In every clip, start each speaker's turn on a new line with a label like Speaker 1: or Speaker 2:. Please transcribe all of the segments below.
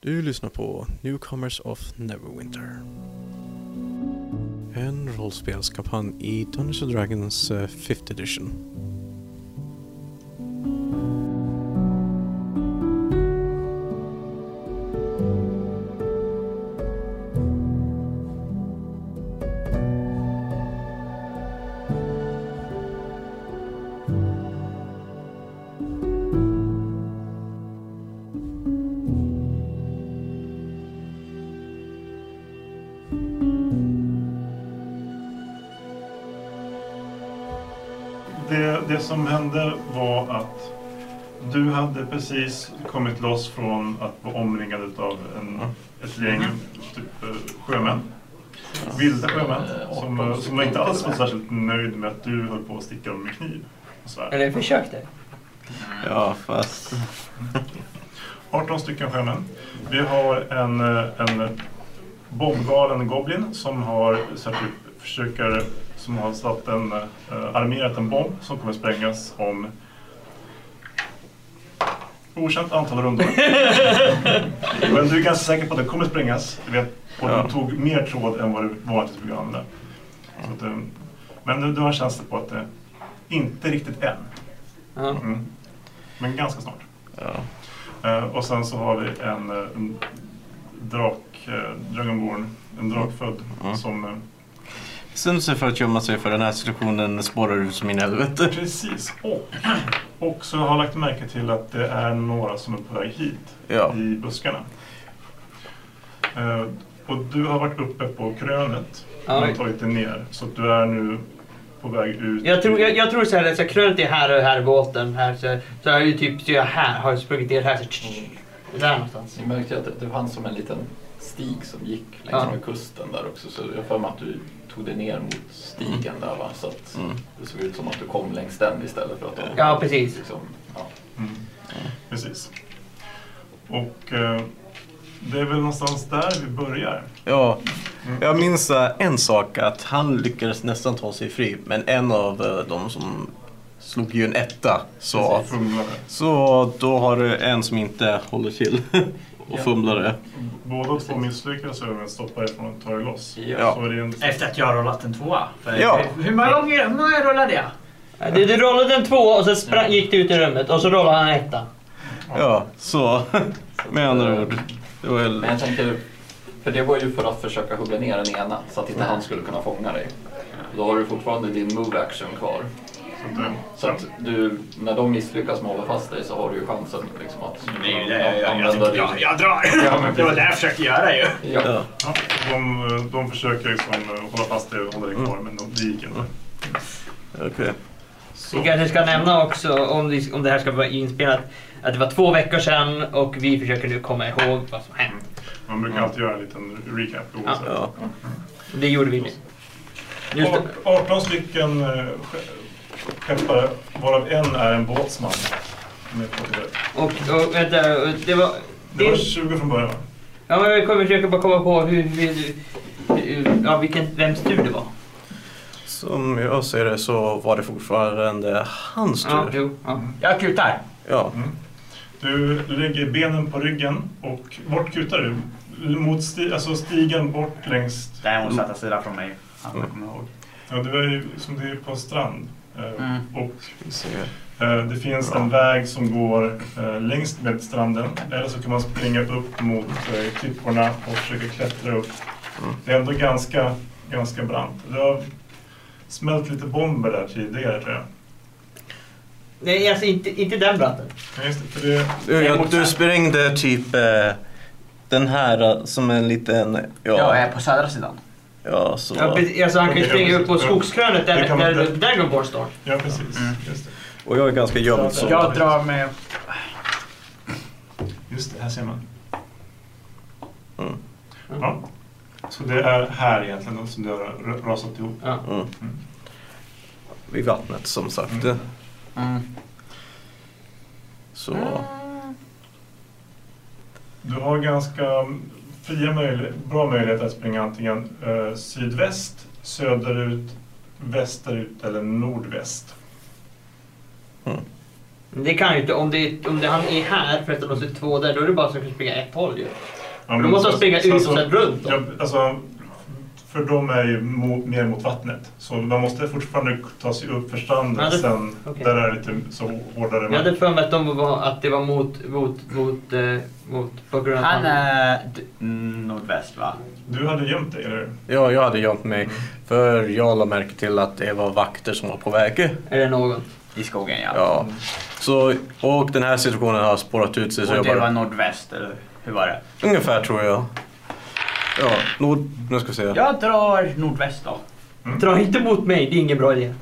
Speaker 1: Du lyssnar på Newcomers of Neverwinter. En rollspelskampanj i Dungeons and Dragons eh, 5th edition.
Speaker 2: Det, det som hände var att du hade precis kommit loss från att vara omringad av en, ett gäng typ, eh, sjömän. Vilda sjömän som, eh, som inte alls var särskilt nöjd med att du höll på att sticka dem med kniv. och svärd.
Speaker 3: Eller försökte.
Speaker 4: Ja, fast...
Speaker 2: 18 stycken sjömän. Vi har en, eh, en bombgalen goblin som har så här, typ, försöker, som har satt en, eh, armerat en bomb som kommer sprängas om okänt antal rundor. Men du är ganska säker på att den kommer sprängas. Du vet, och
Speaker 4: Ja.
Speaker 2: den tog mer tråd än vad du vanligtvis brukar använda. Så att, eh, men du, du har en känsla på att det inte riktigt än.
Speaker 3: Ja.
Speaker 2: Mm. Men ganska snart.
Speaker 4: Ja.
Speaker 2: Eh, och sen så har vi en, eh, en drak, eh, Dragonborn, en drakfödd
Speaker 4: Mm.
Speaker 2: som eh,
Speaker 4: Bestämde sig för att gömma sig för den här situationen spårar ut som in i helvete.
Speaker 2: precis och också har lagt märke till att det är några som är på väg hit
Speaker 4: Ja.
Speaker 2: i buskarna. Eh, och du har varit uppe på krönet
Speaker 3: Ja.
Speaker 2: men tagit dig ner så att du är nu på väg ut.
Speaker 3: Jag tror, jag, jag tror så här, att så här, krönet är här och här i båten. Här, så, så har jag ju typ, så jag här, har jag sprungit ner här. Så, där någonstans.
Speaker 5: Ni märkte ju att det, det fanns som en liten stig som gick längs
Speaker 3: Ja.
Speaker 5: med kusten där också. Så jag har för mig att du tog dig ner mot stigen där va? Så att
Speaker 4: Mm.
Speaker 5: det såg ut som att du kom längs den istället för att de,
Speaker 3: Ja, precis.
Speaker 5: liksom, ja.
Speaker 2: Mm. Precis. Och eh, det är väl någonstans där vi börjar.
Speaker 4: ja. Jag minns eh, en sak, att han lyckades nästan ta sig fri. Men en av eh, de som slog ju en etta. Så,
Speaker 2: Fumlade.
Speaker 4: så då har du en som inte håller till och
Speaker 5: Ja.
Speaker 4: fumlade.
Speaker 2: Båda två misslyckas över att stoppa ifrån och ta er loss.
Speaker 4: Ja.
Speaker 2: Så är det en...
Speaker 6: Efter att jag har rollat en tvåa. För
Speaker 4: Ja.
Speaker 6: Hur många gånger hur många rullade jag?
Speaker 3: Ja, Du, du rollade en två och sen sprang, gick du ut i rummet och så rollade han en etta.
Speaker 4: Ja, så med andra ord. Det var
Speaker 5: Men
Speaker 4: väl...
Speaker 5: jag tänker, för det var ju för att försöka hugga ner den ena så att
Speaker 6: Mm.
Speaker 5: inte han skulle kunna fånga dig. Och Då har du fortfarande din move action kvar. Så att du, när de misslyckas med att hålla fast dig så har du ju chansen liksom, att
Speaker 6: Det är ju det jag gör. Jag,
Speaker 5: använda
Speaker 6: typ,
Speaker 5: din...
Speaker 6: jag, jag drar.
Speaker 5: Ja, men
Speaker 6: det var
Speaker 5: precis.
Speaker 6: det jag försökte göra ju.
Speaker 5: Ja.
Speaker 4: Ja.
Speaker 2: Ja, de, eh, de försöker liksom eh, hålla fast dig och hålla dig
Speaker 4: Mm.
Speaker 2: kvar, men de, det gick inte.
Speaker 4: Okej.
Speaker 3: Vi
Speaker 2: Så,
Speaker 3: kanske ska nämna också, om, vi, om det här ska vara inspelat, att det var två veckor sedan och vi försöker nu komma ihåg vad som hänt.
Speaker 2: man brukar alltid göra en liten recap oavsett.
Speaker 4: Mm. Ja.
Speaker 3: Det gjorde vi nu. Just det.
Speaker 2: Art- 18 stycken eh, sk- skeppare, varav en är en båtsman. Med på det.
Speaker 3: Och, och vänta, och det var...
Speaker 2: det var
Speaker 3: Det,
Speaker 2: 20 från början. va?
Speaker 3: ja, men jag kommer försöka bara komma på hur, hur, hur ja, vilken, vems tur det var.
Speaker 4: Som jag ser det så var det fortfarande hans
Speaker 3: Ja,
Speaker 4: tur.
Speaker 3: jo, ja.
Speaker 6: Jag kutar.
Speaker 4: Ja.
Speaker 2: Mm. Du lägger benen på ryggen och vart kutar du? Mot sti- alltså stigen bort längs...
Speaker 6: Det är motsatta sidan från mig. Allt jag kommer ihåg.
Speaker 2: Ja, det är ju som det är på en strand. Eh,
Speaker 6: Mm.
Speaker 2: Och
Speaker 4: Vi ser.
Speaker 2: Eh, Det finns en väg som går eh, längs med stranden. Eller så kan man springa upp mot eh, klipporna och försöka klättra upp. Det är ändå ganska, ganska brant. Det har smält lite bomber där tidigare tror jag.
Speaker 3: Nej, alltså inte, inte den branten.
Speaker 2: Ja, just det, för det,
Speaker 4: Du, ja,
Speaker 6: Emot
Speaker 4: du
Speaker 6: sen.
Speaker 4: sprängde typ eh, den här eh, som en liten...
Speaker 6: Jag
Speaker 4: Ja,
Speaker 6: är på södra sidan.
Speaker 4: ja så.
Speaker 3: Ja, precis, alltså han kan ju springa upp på skogskrönet
Speaker 2: Det
Speaker 3: där,
Speaker 2: kan
Speaker 3: där,
Speaker 2: man-
Speaker 3: där Dragonborn står.
Speaker 2: ja, precis.
Speaker 6: Mm.
Speaker 2: Just, det.
Speaker 4: Och jag är ganska gömd så.
Speaker 6: Jag drar med...
Speaker 2: just det, här ser man.
Speaker 4: Mm.
Speaker 2: Ja. Så det är här egentligen då som det har ra- rasat ihop.
Speaker 3: Ja.
Speaker 4: Mm. Vid vattnet som sagt.
Speaker 2: Mm.
Speaker 4: Så.
Speaker 2: Du har ganska fria möjlighet, bra möjlighet att springa antingen eh, sydväst, söderut, västerut eller nordväst.
Speaker 4: Mm.
Speaker 3: Men Det kan ju inte. Om, det, om det, han är här för att det låser två där, då är det bara så att han kan springa ett håll ju.
Speaker 2: Ja, men
Speaker 3: Då måste
Speaker 2: så-
Speaker 3: de springa
Speaker 2: så-
Speaker 3: ut och
Speaker 2: så-
Speaker 3: sen runt dem.
Speaker 2: Mm. Ja, alltså, för de är ju mo, mer mot vattnet. Så man måste fortfarande ta sig upp för stranden.
Speaker 3: Ja, det-
Speaker 2: sen,
Speaker 3: okej.
Speaker 2: Där är det lite så hårdare.
Speaker 3: Jag hade för mig att, de var, att det var mot, mot, mot, eh, mot på grund av
Speaker 6: Han
Speaker 3: att han...
Speaker 6: är d- mm, nordväst va?
Speaker 2: Du hade gömt dig, eller?
Speaker 4: Ja, jag hade gömt mig. För jag la märke till att det var vakter som var på väg.
Speaker 3: Eller någon.
Speaker 6: I skogen ja.
Speaker 4: Ja. Så, och den här situationen har spårat ut sig. Så
Speaker 6: Och
Speaker 4: jag
Speaker 6: det var
Speaker 4: bara,
Speaker 6: nordväst eller hur var det?
Speaker 4: ungefär tror jag. Ja, nord, nu ska vi se.
Speaker 6: Jag drar nordväst då.
Speaker 3: Dra inte mot mig, det är ingen bra idé.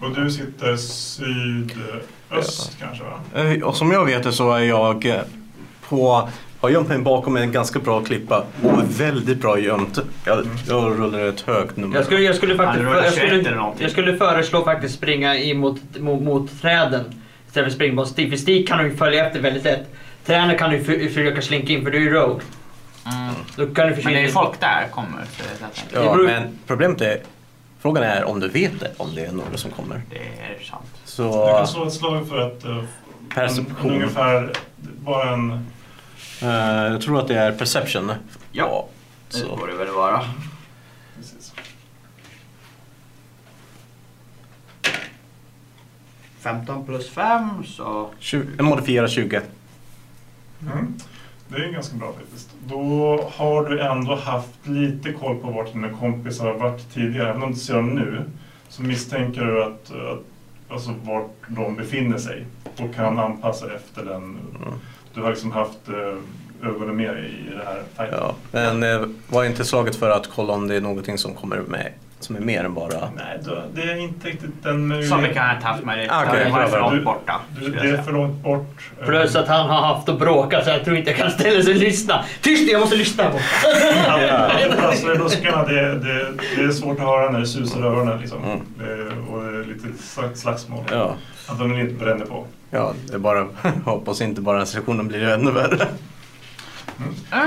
Speaker 2: Och du sitter sydöst kanske, va?
Speaker 4: Eh, Och som jag vet det så är jag eh, på, har gömt mig bakom en ganska bra klippa och är väldigt bra gömt. Jag, jag rullar ett högt nummer.
Speaker 3: Jag skulle, jag skulle faktiskt...
Speaker 6: Han rullar
Speaker 3: Jag
Speaker 6: 21 eller
Speaker 3: skulle,
Speaker 6: någonting.
Speaker 3: jag skulle föreslå faktiskt springa in mot, mot, mot träden istället för springa mot Stig. För Stig kan du ju följa efter väldigt lätt. Träden kan du ju för- försöka slinka in för du är ju rogue. Då kan du
Speaker 6: Men
Speaker 3: försvinna.
Speaker 6: det är
Speaker 3: in.
Speaker 6: folk där kommer. Så det, är så att-
Speaker 4: Mm. ja,
Speaker 3: det beror-
Speaker 4: men problemet är, frågan är om du vet det, om det är några som kommer.
Speaker 6: det är sant.
Speaker 4: Så
Speaker 2: Du kan slå ett slag för att... eh, en,
Speaker 4: perception.
Speaker 2: en, ungefär, bara en...
Speaker 4: Eh, jag tror att det är perception.
Speaker 6: Ja.
Speaker 4: Så.
Speaker 6: Det borde det väl vara.
Speaker 2: Precis.
Speaker 6: 15 plus 5 så...
Speaker 4: Tju- en modifierad 20.
Speaker 2: Mm. Det är ganska bra faktiskt. Då har du ändå haft lite koll på vart dina kompisar har varit tidigare. Även om du inte ser dem nu så misstänker du att, att alltså, vart de befinner sig och kan anpassa efter den.
Speaker 4: Mm.
Speaker 2: Du har liksom haft eh, ögonen med dig i det här fighten.
Speaker 4: Ja. Men eh, var inte slaget för att kolla om det är någonting som kommer med som är mer än bara...
Speaker 2: Nej, då, det är inte riktigt den
Speaker 6: Som vi kan ha haft med det.
Speaker 4: Ah, okej,
Speaker 6: det var
Speaker 4: bra,
Speaker 6: för
Speaker 4: bra.
Speaker 6: långt borta.
Speaker 2: Du, det
Speaker 6: skulle jag
Speaker 2: är
Speaker 6: säga.
Speaker 2: för långt bort. eh,
Speaker 3: Plus att han har haft att bråka så jag tror inte jag kan ställa sig och lyssna. Tyst jag måste lyssna på.
Speaker 2: Att prassla i buskarna, det, det, det är svårt att höra när det susar i öronen. Liksom.
Speaker 4: Mm.
Speaker 2: Det, och det är lite slags- slagsmål.
Speaker 4: Ja,
Speaker 2: Att de inte bränner på.
Speaker 4: ja det är bara... hoppas inte bara den sessionen blir ännu värre.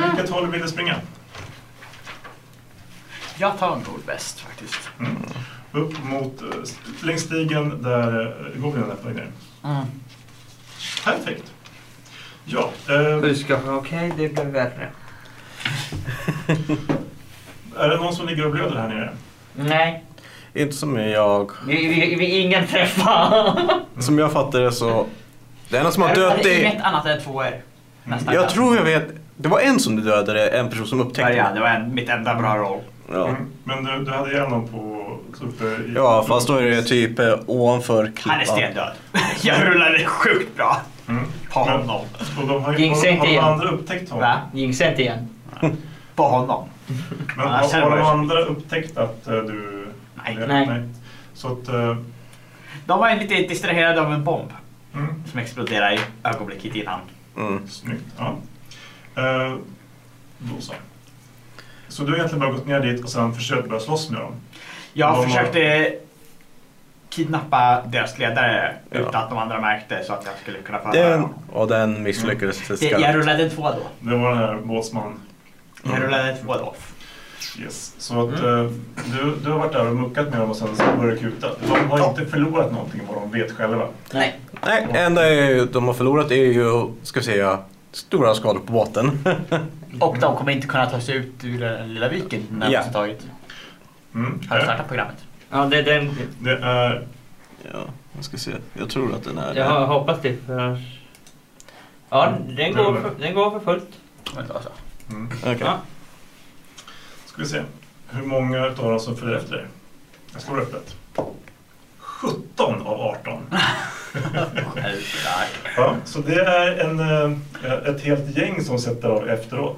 Speaker 2: Vilket håll vill du springa?
Speaker 6: Jag tar nordväst faktiskt.
Speaker 2: Upp mot, eh, s- längs stigen där eh, Goblinen är på väg ner. Perfekt. Ja, eh,
Speaker 3: Huska, okej det blev värre.
Speaker 2: är det någon som ligger och blöder här nere?
Speaker 3: Nej,
Speaker 4: Inte som jag...
Speaker 3: vi, vi, vi ingen träffar.
Speaker 4: Som jag fattar det så... Det enda som har
Speaker 6: Jag
Speaker 4: dött
Speaker 6: hade
Speaker 4: är...
Speaker 6: Inget annat än två er. Nästan.
Speaker 4: Jag tror jag vet... Det var en som du dödade, en person som upptäckte
Speaker 6: Ja, det var en, mitt enda bra roll.
Speaker 4: Ja.
Speaker 2: Mm. Men du, du hade igen någon på uppe i...
Speaker 4: ja, fast då är det typ eh, ovanför
Speaker 6: Han är
Speaker 4: klippan.
Speaker 6: stendöd. Jag rullade sjukt bra
Speaker 2: Mm.
Speaker 6: på
Speaker 2: Men-
Speaker 6: honom.
Speaker 2: Och de har, ju-
Speaker 3: Jinxa
Speaker 2: har, har
Speaker 3: inte
Speaker 2: de
Speaker 3: igen.
Speaker 2: andra upptäckt honom?
Speaker 6: Va?
Speaker 3: Jinxa inte igen.
Speaker 6: På honom.
Speaker 2: Men
Speaker 6: Ja,
Speaker 2: har,
Speaker 6: sen
Speaker 2: har
Speaker 6: var
Speaker 2: de
Speaker 6: det-
Speaker 2: andra upptäckt att eh, du...
Speaker 6: Nej.
Speaker 3: Nej.
Speaker 2: Så att... eh,
Speaker 6: De var lite distraherade av en bomb
Speaker 2: Mm,
Speaker 6: som exploderade i ögonblicket innan.
Speaker 4: Mm.
Speaker 2: snyggt. Ja. Eh, då så. Så du har egentligen bara gått ner dit och sen försökt börja slåss med dem?
Speaker 6: Jag
Speaker 2: De har-
Speaker 6: försökte kidnappa deras ledare
Speaker 4: Ja.
Speaker 6: utan att de andra märkte så att jag skulle kunna förhöra
Speaker 4: Den,
Speaker 6: honom.
Speaker 4: och den misslyckades till
Speaker 6: Det- Jag
Speaker 4: skarpt.
Speaker 6: rullade en två då.
Speaker 2: Det var den här båtsman.
Speaker 6: Jag
Speaker 4: Mm.
Speaker 6: rullade en två då.
Speaker 2: Yes. Så att eh, du, du har varit där och muckat med dem och sen så börjar det kuta. De har inte förlorat någonting vad de vet själva.
Speaker 3: Nej.
Speaker 4: Nej, enda är ju, de har förlorat är ju, ska vi säga, stora skador på båten.
Speaker 6: Och de kommer inte kunna ta sig ut ur den lilla viken när
Speaker 4: Ja.
Speaker 6: de har tagit.
Speaker 2: Mm.
Speaker 6: Har du startat programmet?
Speaker 3: Ja, det, den,
Speaker 2: Det är...
Speaker 4: ja, jag ska se. Jag tror att den är
Speaker 3: jag har- hoppas det. För... annars- Ja, den går, för, den går för fullt.
Speaker 2: Mm.
Speaker 4: Okej.
Speaker 3: Ja.
Speaker 2: Ska vi se. Hur många av dem som följer efter dig? Jag slår upp det. 17 av 18. Ja, så det är en, eh, ett helt gäng som sätter av efteråt.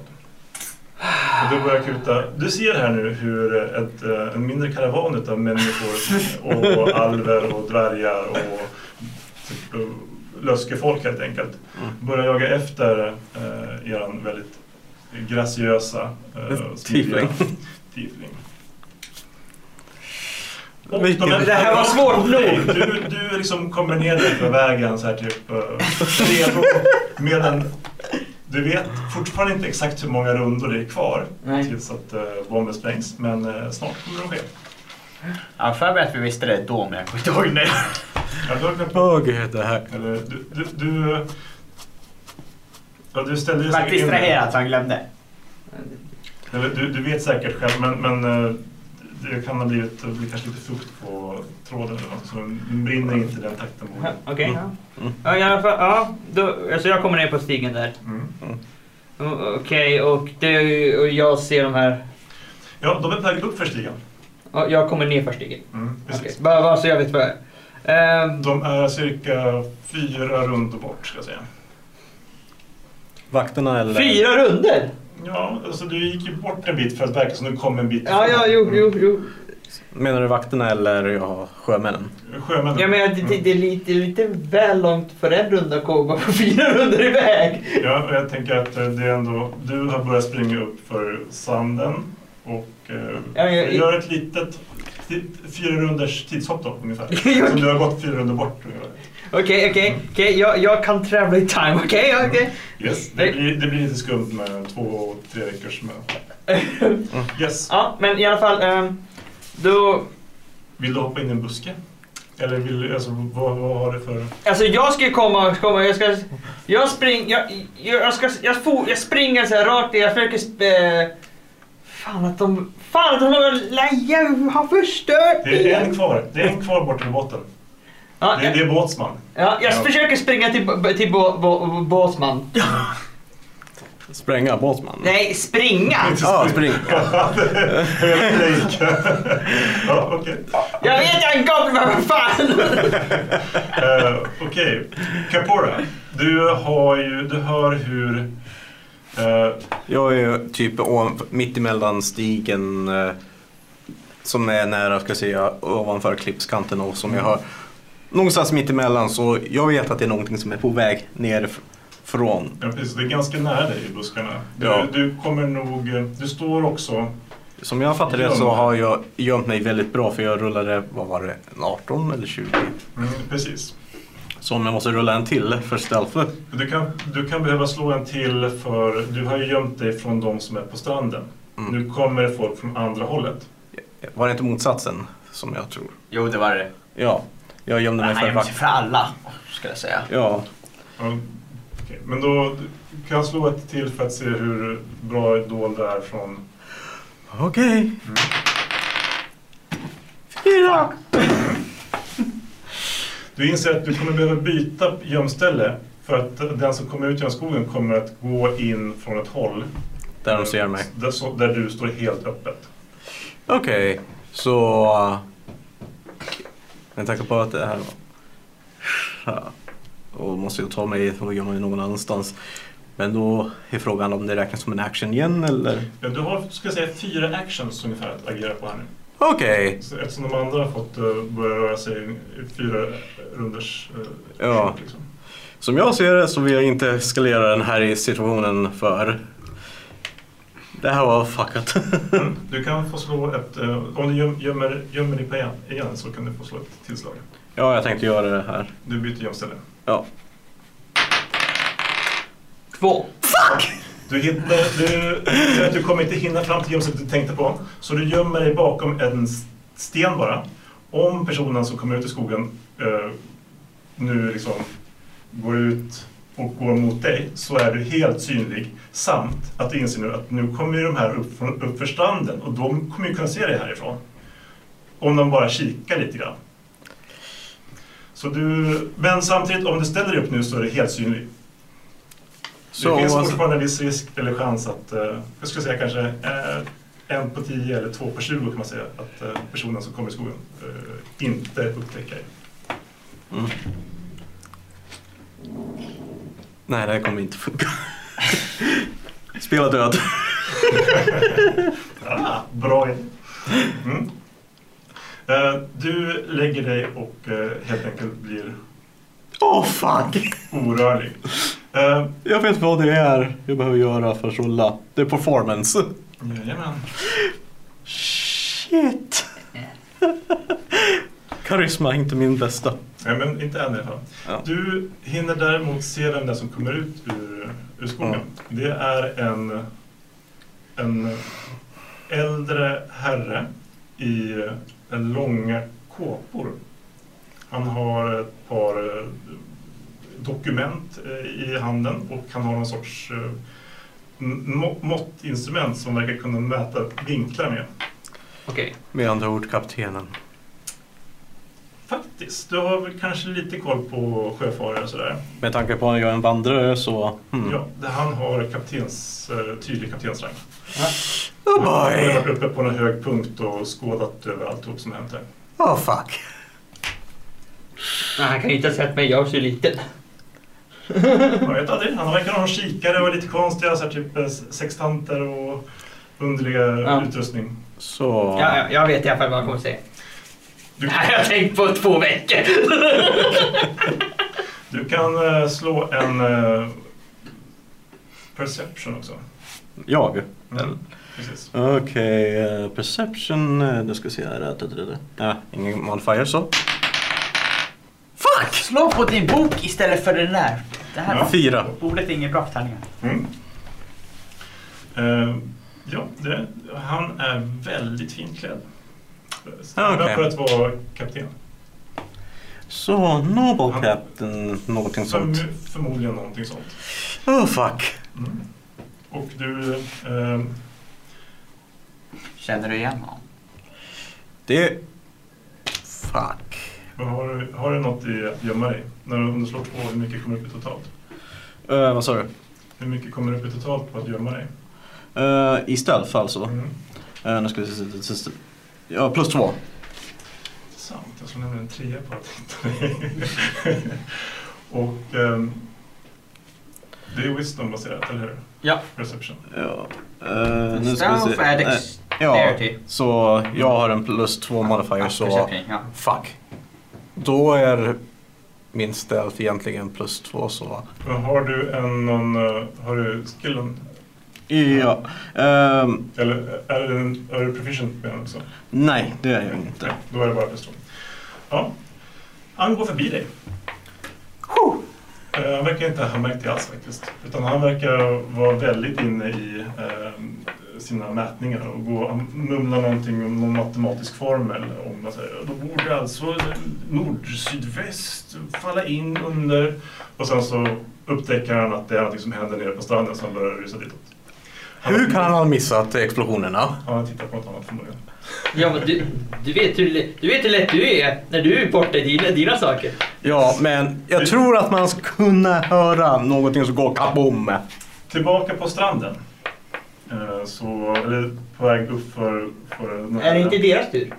Speaker 2: Och du börjar kuta. Du ser här nu hur ett, eh, en mindre karavan av människor och alver och dvärgar och typ, eh, löskefolk helt enkelt börjar jaga efter eh, eran väldigt graciösa eh,
Speaker 4: Tiefling.
Speaker 2: tiefling.
Speaker 4: Vilken-
Speaker 2: Det
Speaker 3: här var svårt nog.
Speaker 2: Du, du liksom kommer ner där på vägen så här typ eh, redo med en... Du vet fortfarande inte exakt hur många rundor det är kvar
Speaker 3: Nej.
Speaker 2: tills att eh, bomben sprängs, men eh, snart kommer det att ske.
Speaker 6: Jag har för mig att vi visste det då, men jag kommer inte ihåg nu.
Speaker 2: Ja, du har glömt
Speaker 1: Åh gud, det här.
Speaker 2: Eller, du, du, du, eh, ja, du ställde ju
Speaker 6: Jag vart
Speaker 2: säkert in det.
Speaker 6: distraherad så han glömde.
Speaker 2: Eller, du, du vet säkert själv, men, men eh, det kan ha blivit det blir kanske lite fukt på tråden eller något, så den den brinner inte i den takten. på
Speaker 3: Ja,
Speaker 2: den.
Speaker 3: Okej.
Speaker 2: Mm.
Speaker 3: ja. Ja, i alla fall, ja. Då, alltså jag kommer ner på stigen där.
Speaker 2: Mm.
Speaker 3: O- Okej, och, det- och jag ser de här.
Speaker 2: Ja, de är på väg upp för stigen.
Speaker 3: ja, Jag kommer ner för stigen.
Speaker 2: Mm, precis.
Speaker 3: Okej, Bara bara så jag vet vad jag är. Ehm,
Speaker 2: De är cirka fyra rundor bort, ska jag säga.
Speaker 4: Vakterna eller?
Speaker 3: Fyra runder.
Speaker 2: Ja, alltså du gick ju bort en bit för att verka som du kom en bit
Speaker 3: Ja, ja, jo,
Speaker 2: ifrån.
Speaker 3: jo, jo.
Speaker 4: Menar du vakterna eller ja, sjömännen?
Speaker 2: Mm. Sjömännen.
Speaker 3: Ja, men det, det, det är lite, lite väl långt för en runda att komma på fyra rundor iväg.
Speaker 2: Ja, och jag tänker att eh, det är ändå, du har börjat springa upp för sanden och eh,
Speaker 3: Ja, men jag-
Speaker 2: gör ett litet, ti- fyra runders tidshopp då ungefär.
Speaker 3: Jag-
Speaker 2: Som du har gått fyra rundor bort. ungefär.
Speaker 3: Okej, okej, okej. Jag, jag kan travel in time. Okej, okej.
Speaker 2: Yes,
Speaker 3: Nej.
Speaker 2: det blir, det blir lite skumt med två och tre veckors möte. Yes,
Speaker 3: Ja, men i alla fall. ehm, då,
Speaker 2: vill du hoppa in i en buske? Eller vill du, alltså vad, vad har du för...
Speaker 3: alltså jag ska ju komma, komma jag ska, jag spring, jag, jag, jag ska, jag, for, jag springer så här rakt, jag försöker, sp- eh, fan att de, fan att de har, har förstört
Speaker 2: Det är en
Speaker 3: igen.
Speaker 2: kvar, det är en kvar borta vid båten.
Speaker 3: Ja,
Speaker 2: Det, det är båtsman.
Speaker 3: ja, jag
Speaker 2: Ja.
Speaker 3: försöker springa till, bo- till bo, bo, bo, båtsman.
Speaker 4: Spränga båtsman?
Speaker 3: Nej, springa!
Speaker 4: Ja, spring.
Speaker 2: ja, okej.
Speaker 3: Jag vet jag är en goblin, men vad fan!
Speaker 2: Eh, Okej, Capora. Du har ju, du hör hur... eh,
Speaker 4: Jag är ju typ ovan, mitt emellan stigen eh, som är nära, ska jag säga, ovanför klippskanten och som jag hör. Någonstans mitt emellan så jag vet att det är någonting som är på väg ner f- från.
Speaker 2: ja, precis, det är ganska nära dig i buskarna. Du,
Speaker 4: Ja.
Speaker 2: du kommer nog... eh, Du står också...
Speaker 4: Som jag fattar det så har jag gömt mig väldigt bra för jag rullade, vad var det, en 18 eller 20?
Speaker 2: Mm, precis.
Speaker 4: Så om jag måste rulla en till för stealth.
Speaker 2: Du kan, du kan behöva slå en till för du har ju gömt dig från de som är på stranden.
Speaker 4: Mm.
Speaker 2: Nu kommer det folk från andra hållet.
Speaker 4: Var det inte motsatsen som jag tror?
Speaker 6: Jo, det var det.
Speaker 4: Ja, jag gömde mig
Speaker 6: Han
Speaker 4: för
Speaker 6: gömde sig
Speaker 4: vakt.
Speaker 6: för alla, skulle jag säga.
Speaker 4: Ja,
Speaker 2: Ja, okej. Men då du kan jag slå ett till för att se hur bra dold du är från...
Speaker 4: okej. Fyra!
Speaker 2: Du inser att du kommer behöva byta gömställe för att den som kommer ut genom skogen kommer att gå in från ett håll
Speaker 4: Där de ser mig.
Speaker 2: Där, så, där du står helt öppet.
Speaker 4: Okej, så... äh, Med tanke på att det här var... Och måste jag ta mig och gömma mig någon annanstans. Men då är frågan om det räknas som en action igen eller?
Speaker 2: Ja, du har ska jag säga, fyra actions ungefär att agera på här nu.
Speaker 4: Okej,
Speaker 2: Så Eftersom de andra har fått eh, börja röra sig i fyra runders eh,
Speaker 4: Ja.
Speaker 2: action, liksom.
Speaker 4: som jag ser det så vill jag inte eskalera den här situationen för... Det här var fuckat.
Speaker 2: Mm. Du kan få slå ett... eh, om du göm, gömmer, gömmer dig på igen, igen så kan du få slå ett tillslag.
Speaker 4: ja, jag tänkte göra det här.
Speaker 2: Du byter gömställe.
Speaker 4: Ja.
Speaker 3: Två.
Speaker 2: Du, hittar, du, ser att du kommer inte hinna fram till gömstället du tänkte på. Så du gömmer dig bakom en s- sten bara. Om personen som kommer ut i skogen eh, nu liksom går ut och går mot dig så är du helt synlig. Samt att du inser nu att nu kommer ju de här upp, från, upp för stranden och de kommer ju kunna se dig härifrån. Om de bara kikar lite grann. Så du, men samtidigt om du ställer dig upp nu så är du helt synlig.
Speaker 4: Så,
Speaker 2: det finns
Speaker 4: alltså-
Speaker 2: fortfarande en viss risk eller chans att, eh, jag skulle säga kanske eh, en på 10 eller två på 20 kan man säga, att eh, personen som kommer i skogen eh, inte upptäcker dig.
Speaker 4: Nej, det här kommer inte funka. Spela död.
Speaker 2: Ah, bra idé. Mm. Eh, du lägger dig och eh, helt enkelt blir
Speaker 4: Åh oh, fuck!
Speaker 2: orörlig. Eh,
Speaker 4: Jag vet vad det är jag behöver göra för att rulla. Det är performance.
Speaker 2: jajamän.
Speaker 4: Shit! Karisma är inte min bästa.
Speaker 2: Nej, men inte än i alla fall.
Speaker 4: Ja.
Speaker 2: Du hinner däremot se vem det är som kommer ut ur, ur skogen.
Speaker 4: Mm.
Speaker 2: Det är en, en äldre herre i eh, långa kåpor. Han har ett par eh, dokument eh, i handen och han har någon sorts eh, m- må- måttinstrument som verkar kunna mäta vinklar med.
Speaker 3: Okej.
Speaker 4: Med andra ord kaptenen.
Speaker 2: Faktiskt, du har väl kanske lite koll på sjöfarare och sådär.
Speaker 4: Med tanke på att jag är en vandrare så... Hmm.
Speaker 2: Ja, det- han har kaptens, eh, tydlig kaptensrang.
Speaker 4: Oh
Speaker 2: Han har
Speaker 4: boy!
Speaker 2: varit uppe på en hög punkt och skådat över alltihop som hänt här.
Speaker 4: Oh fuck!
Speaker 3: Nej, han kan ju inte ha sett mig, jag är så liten.
Speaker 2: Man vet aldrig. Han verkar ha någon kikare och lite konstiga så här, typ eh, sextanter och underliga
Speaker 3: Ja.
Speaker 2: utrustning.
Speaker 4: Så...
Speaker 3: Ja, ja, jag vet i alla fall vad han kommer säga.
Speaker 2: Du,
Speaker 3: Nej, jag har tänkt på två veckor.
Speaker 2: du kan eh, slå en eh, perception också.
Speaker 4: Jag?
Speaker 2: Mm. Precis.
Speaker 4: Okej, eh, perception... eh, Nu ska vi se här. Nej, ingen modifier så.
Speaker 6: Fuck! Slå på din bok istället för den där. Det här
Speaker 2: Ja.
Speaker 4: Fyra.
Speaker 6: bordet är inget bra för tärningar.
Speaker 2: Mm. Eh, ja, det, han är väldigt fint klädd.
Speaker 4: Ah,
Speaker 2: Stämmer
Speaker 4: okej.
Speaker 2: för att vara kapten.
Speaker 4: Så, noble
Speaker 2: Han-
Speaker 4: captain, någonting sånt.
Speaker 2: Förm- förmodligen någonting sånt.
Speaker 4: Oh fuck!
Speaker 2: Mm. Och du... Eh,
Speaker 6: Känner du igen honom?
Speaker 4: Det... Fuck.
Speaker 2: vad har, du- har du något i att gömma dig? När du, om du slår två, hur mycket kommer upp i totalt?
Speaker 4: Eh, vad sa du?
Speaker 2: Hur mycket kommer upp i totalt på att gömma dig?
Speaker 4: Eh, I stealth alltså.
Speaker 2: Mm.
Speaker 4: Eh, nu ska vi se- se... se- se- Ja, plus två.
Speaker 2: Sant, jag slår nämligen en trea på att hitta dig. Och... ehm, det är wisdom baserat, eller hur?
Speaker 3: Ja.
Speaker 2: Perception.
Speaker 4: Ja. eh, nu ska vi
Speaker 6: Stealth
Speaker 4: se.
Speaker 6: är
Speaker 4: Eh, ja,
Speaker 6: dexterity.
Speaker 4: så jag har en plus två modifier
Speaker 6: Ja,
Speaker 4: så...
Speaker 6: perception, ja.
Speaker 4: Fuck. Då är min stealth egentligen plus två så...
Speaker 2: Men har du en, någon, eh, har du skillen?
Speaker 4: Ja. ehm,
Speaker 2: Eller är, det en, är du proficient med den också?
Speaker 4: nej, det är jag inte.
Speaker 2: Då är det bara pistol. Ja. Han går förbi dig. Eh, Han verkar inte ha märkt det alls faktiskt. Utan han verkar vara väldigt inne i eh, sina mätningar och gå, han mumlar någonting om någon matematisk formel. Om att, eh, då borde alltså nord-sydväst falla in under... Och sen så upptäcker han att det är någonting som händer nere på stranden så han börjar rusa ditåt.
Speaker 4: Hur kan han ha missat explosionerna?
Speaker 2: Han har tittat på något annat förmodligen.
Speaker 3: Ja, men du, du, vet hur, lä- du vet hur lätt du är när du är borta i dina, dina saker.
Speaker 4: Ja, men jag tror att man ska kunna höra någonting som går kaboom.
Speaker 2: Tillbaka på stranden. Eh, Så, eller på väg upp för, för den här-
Speaker 3: Är det inte deras tur?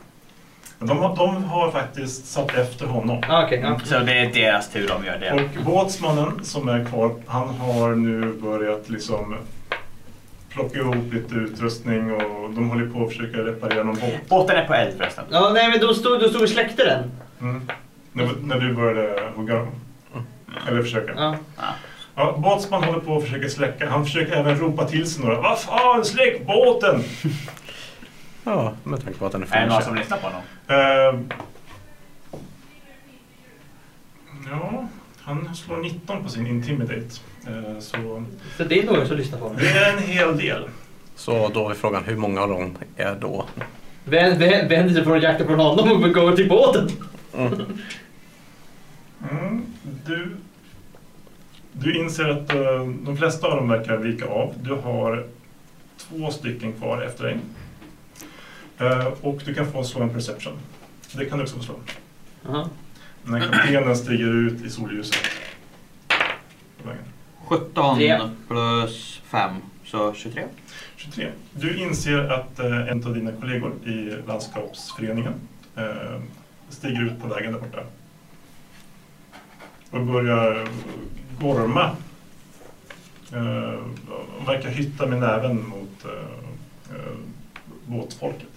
Speaker 2: de, har, de har faktiskt satt efter honom.
Speaker 3: Ah, Okej, ja.
Speaker 6: Så det är deras tur de gör det.
Speaker 2: Och båtsmannen som är kvar, han har nu börjat liksom plocka ihop lite utrustning och de håller på att försöka reparera någon båt.
Speaker 6: Båten är på eld förresten.
Speaker 3: Ja, nej men de stod, de stod och släckte den.
Speaker 2: Mm. När, när du började hugga dem. Eller försöka.
Speaker 3: Ja.
Speaker 2: Ja, båtsman håller på att försöka släcka. Han försöker även ropa till sig några. Vad fan, släck båten!
Speaker 4: Ja, med tanke på att den är
Speaker 6: Är det någon
Speaker 4: finished.
Speaker 6: som lyssnar på honom?
Speaker 2: Eh, ja, han slår 19 på sin Intimidate. Eh, så
Speaker 3: Så det är någon som lyssnar på mig.
Speaker 2: det är en hel del.
Speaker 4: Så då är frågan, hur många av dem är då?
Speaker 3: Vänd, vänd, vänder sig från jakten från honom och går till båten.
Speaker 2: Mm, du, du inser att eh, de flesta av dem verkar vika av. Du har två stycken kvar efter dig. Eh, och du kan få slå en perception. Det kan du också få slå.
Speaker 3: Jaha.
Speaker 2: När kaptenen stiger ut i solljuset. På vägen.
Speaker 5: 17
Speaker 3: Tre.
Speaker 5: plus 5, så 23.
Speaker 2: 23. Du inser att eh, en av dina kollegor i landskapsföreningen eh, stiger ut på vägen där borta. Och börjar gorma. Eh, och verkar hytta med näven mot eh, eh, båtfolket.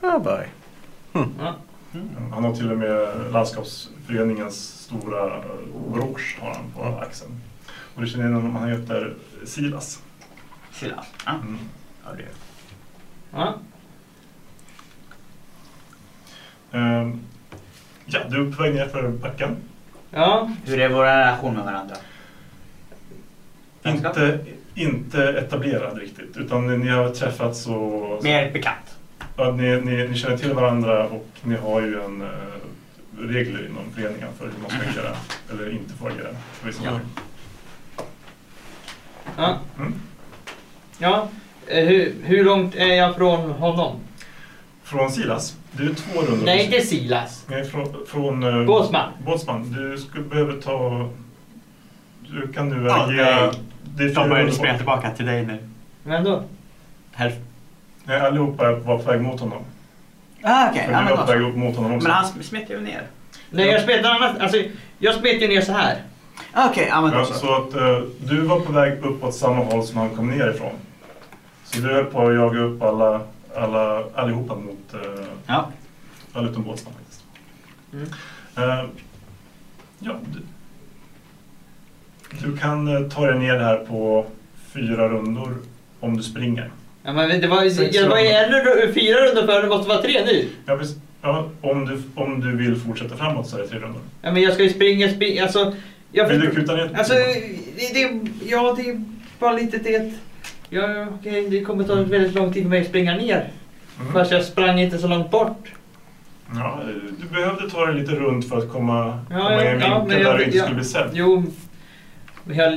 Speaker 4: Ja, bye.
Speaker 3: Ja.
Speaker 6: Mm.
Speaker 2: Han har till och med landskapsföreningens stora eh, brosch har han på axeln. Och du känner igen honom, han heter Silas.
Speaker 6: Chilla. Ja.
Speaker 2: Mm.
Speaker 6: Ja, det är-
Speaker 3: Ja.
Speaker 2: Eh, ja, du är på väg ner för backen.
Speaker 3: ja.
Speaker 6: Hur är våra relation med varandra?
Speaker 2: Inte, inte etablerad riktigt, utan ni har träffats och...
Speaker 6: Mer bekant.
Speaker 2: Ja, ni, ni, ni känner till varandra och ni har ju en eh, regler inom föreningen för hur man ska agera eller inte får agera. på vissa
Speaker 3: Ja.
Speaker 2: saker.
Speaker 3: Ja.
Speaker 2: Mm.
Speaker 3: ja. Eh, Hur, hur långt är jag från honom?
Speaker 2: Från Silas, du är två rundor.
Speaker 3: Nej, inte Silas.
Speaker 2: Nej, från... från eh,
Speaker 3: Båtsman.
Speaker 2: Båtsman, du skulle behöva ta... Du kan nu
Speaker 6: Ja,
Speaker 2: agera...
Speaker 6: nej.
Speaker 2: det är
Speaker 6: De
Speaker 2: fyra
Speaker 6: började
Speaker 2: rundor
Speaker 6: springa
Speaker 2: bort.
Speaker 6: tillbaka till dig nu.
Speaker 3: Vem då?
Speaker 6: Här.
Speaker 2: Nej, allihopa var på väg mot honom.
Speaker 6: Ah, okej.
Speaker 2: För
Speaker 6: Ja,
Speaker 2: du
Speaker 6: men
Speaker 2: var på väg
Speaker 6: då så.
Speaker 2: upp mot honom också.
Speaker 6: Men han smet ju ner.
Speaker 3: Nej, jag smet någon annan- Alltså, jag smet ju ner så här.
Speaker 6: Ah, Okej, ja men
Speaker 2: Ja,
Speaker 6: då
Speaker 2: så
Speaker 6: så.
Speaker 2: att eh, du var på väg uppåt samma håll som han kom ner ifrån. Så du höll på att jaga upp alla, alla, allihopa mot... eh,
Speaker 6: Ja.
Speaker 2: alla utom Båtsman faktiskt.
Speaker 3: Mm.
Speaker 2: Eh, ja, du, du kan eh, ta dig ner här på fyra rundor om du springer.
Speaker 3: Ja, men det var,
Speaker 2: Sex
Speaker 3: jag var ju
Speaker 2: rundor.
Speaker 3: en runda- fyra rundor före, det måste vara tre nu.
Speaker 2: Ja, precis. ja, om, du, om du vill fortsätta framåt så är det tre rundor.
Speaker 3: Ja, men jag ska ju springa, springa. Alltså, jag
Speaker 2: Vill du
Speaker 3: förstår-
Speaker 2: kuta ner?
Speaker 3: Alltså, det, det, ja, det är bara lite det. Ja, ja, okej, det kommer ta väldigt lång tid för mig att springa ner.
Speaker 2: Mm.
Speaker 3: Fast jag sprang inte så långt bort.
Speaker 2: Ja, du behövde ta dig lite runt för att komma,
Speaker 3: Ja,
Speaker 2: komma i en
Speaker 3: ja, men
Speaker 2: vinkel
Speaker 3: jag-
Speaker 2: där du inte
Speaker 3: ja.
Speaker 2: skulle bli sedd.
Speaker 3: Jo, men jag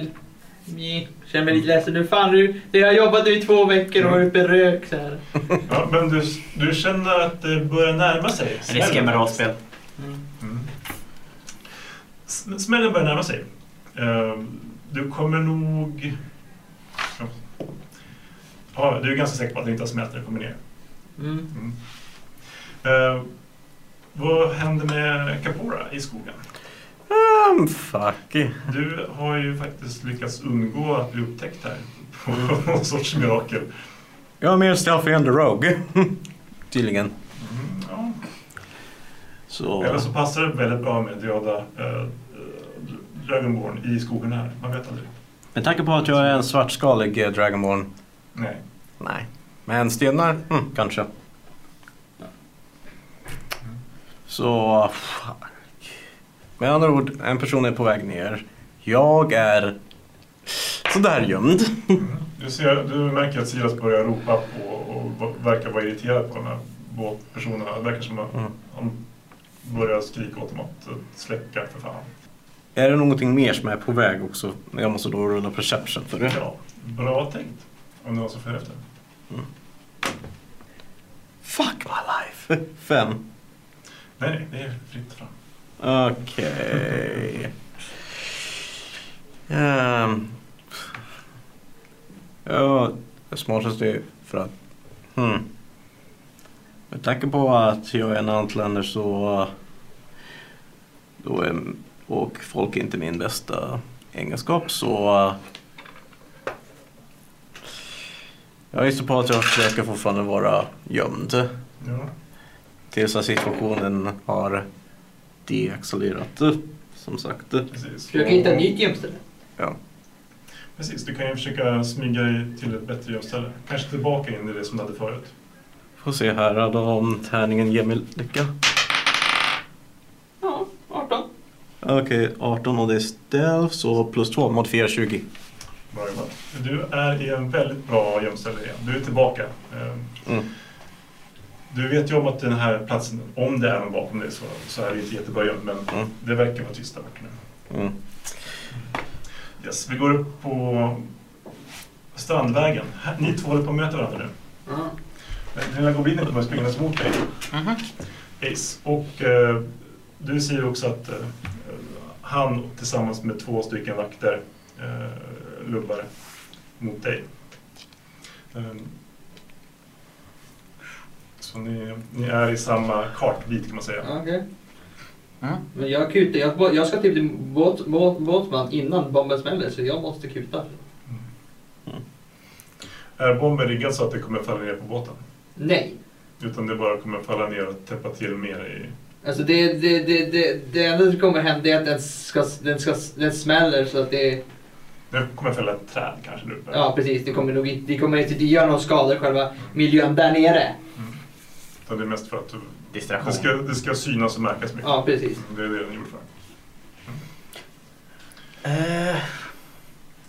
Speaker 3: jag känner mig lite ledsen nu. Fan, nu, det har jag jobbat nu i två veckor
Speaker 2: Mm.
Speaker 3: och varit uppe i rök så här.
Speaker 2: Ja, men du, du känner att det börjar närma sig.
Speaker 6: Risken med rollspel.
Speaker 2: Mm. S- Smällen börjar närma sig. Eh, Du kommer nog... Ja, du är ganska säker på att det inte har smält när du kommer ner.
Speaker 3: Mm.
Speaker 2: Mm. Eh, Vad händer med Capora i skogen?
Speaker 4: Um, fuck.
Speaker 2: Du har ju faktiskt lyckats undgå att bli upptäckt här. På någon sorts mirakel.
Speaker 4: Jag är mer stealthy än the rogue. Tydligen.
Speaker 2: Mm, ja.
Speaker 4: Så...
Speaker 2: Eller så passar det väldigt bra med döda eh, Dragonborn i skogen här. Man vet aldrig.
Speaker 4: Med tanke på att jag är en svartskalig eh, Dragonborn.
Speaker 2: Nej.
Speaker 4: Nej. Men stenar? Mm, kanske. Så... fuck. Med andra ord, en person är på väg ner. Jag är sådär gömd.
Speaker 2: Du, ser, du märker att Silas börjar ropa på och va- verkar vara irriterad på de här båtpersonerna. Det verkar som att
Speaker 4: Mm.
Speaker 2: han börjar skrika åt dem att eh, släcka för fan.
Speaker 4: Är det någonting mer som är på väg också? Jag måste då rulla perception för det.
Speaker 2: Ja, bra tänkt. Om det var så för efter.
Speaker 4: Fuck my life! Fem.
Speaker 2: Nej, nej, det är fritt fram.
Speaker 4: Okej. Ehm. Ja, det smartaste är för att... Hmm. Med tanke på att jag är en antländer så... Då är, och folk är inte min bästa egenskap så... Jag gissar på att jag ska fortfarande vara gömd.
Speaker 2: Ja.
Speaker 4: Tills att situationen har deaccelererat, som sagt.
Speaker 2: Precis.
Speaker 3: Försöka hitta ett nytt gömställe.
Speaker 2: Precis, du kan ju försöka smyga dig till ett bättre gömställe. Kanske tillbaka in i det som du hade förut.
Speaker 4: Får se här då om tärningen ger mig lycka.
Speaker 3: Ja, 18.
Speaker 4: Okej, 18 och det är stealth, så plus 2 mot 4, 20.
Speaker 2: Bra jobbat. Du är i en väldigt bra gömställe igen. Du är tillbaka. Ehm,
Speaker 4: Mm.
Speaker 2: Du vet ju om att den här platsen, om det är någon bakom dig så, så är det inte jättebra gömt, men
Speaker 4: Mm.
Speaker 2: det verkar vara tyst där borta nu.
Speaker 4: Mm.
Speaker 2: Yes, vi går upp på Strandvägen. Här- Ni två håller på att möta varandra nu.
Speaker 6: Mm.
Speaker 2: Den lilla goblinen kommer springandes mot dig.
Speaker 6: Mhm.
Speaker 2: Ace. Och eh, du ser ju också att eh, han tillsammans med två stycken vakter eh, lubbar mot dig. Ehm, så ni, ni är i samma kartbit kan man säga.
Speaker 3: Ja, okej.
Speaker 6: Mm.
Speaker 3: Men jag kutar. Jag, jag ska typ till båt, båt, båtman innan bomben smäller så jag måste kuta.
Speaker 2: Är bomben riggad så att det kommer falla ner på båten?
Speaker 3: Nej.
Speaker 2: Utan det bara kommer falla ner och täppa till mer i...
Speaker 3: Alltså det, det, det, det, det enda som kommer hända är att den, ska, den, ska, den smäller så att det...
Speaker 2: Nu kommer fälla ett träd kanske där uppe.
Speaker 3: Ja precis, det kommer nog inte, det kommer inte det gör någon skada i själva miljön där nere.
Speaker 2: Mm. Utan det är mest för att du, det, ska,
Speaker 6: Distraktion.
Speaker 2: det ska synas och märkas mycket.
Speaker 3: Ja precis.
Speaker 2: Mm, Det är det den gjorde för.
Speaker 6: Eh,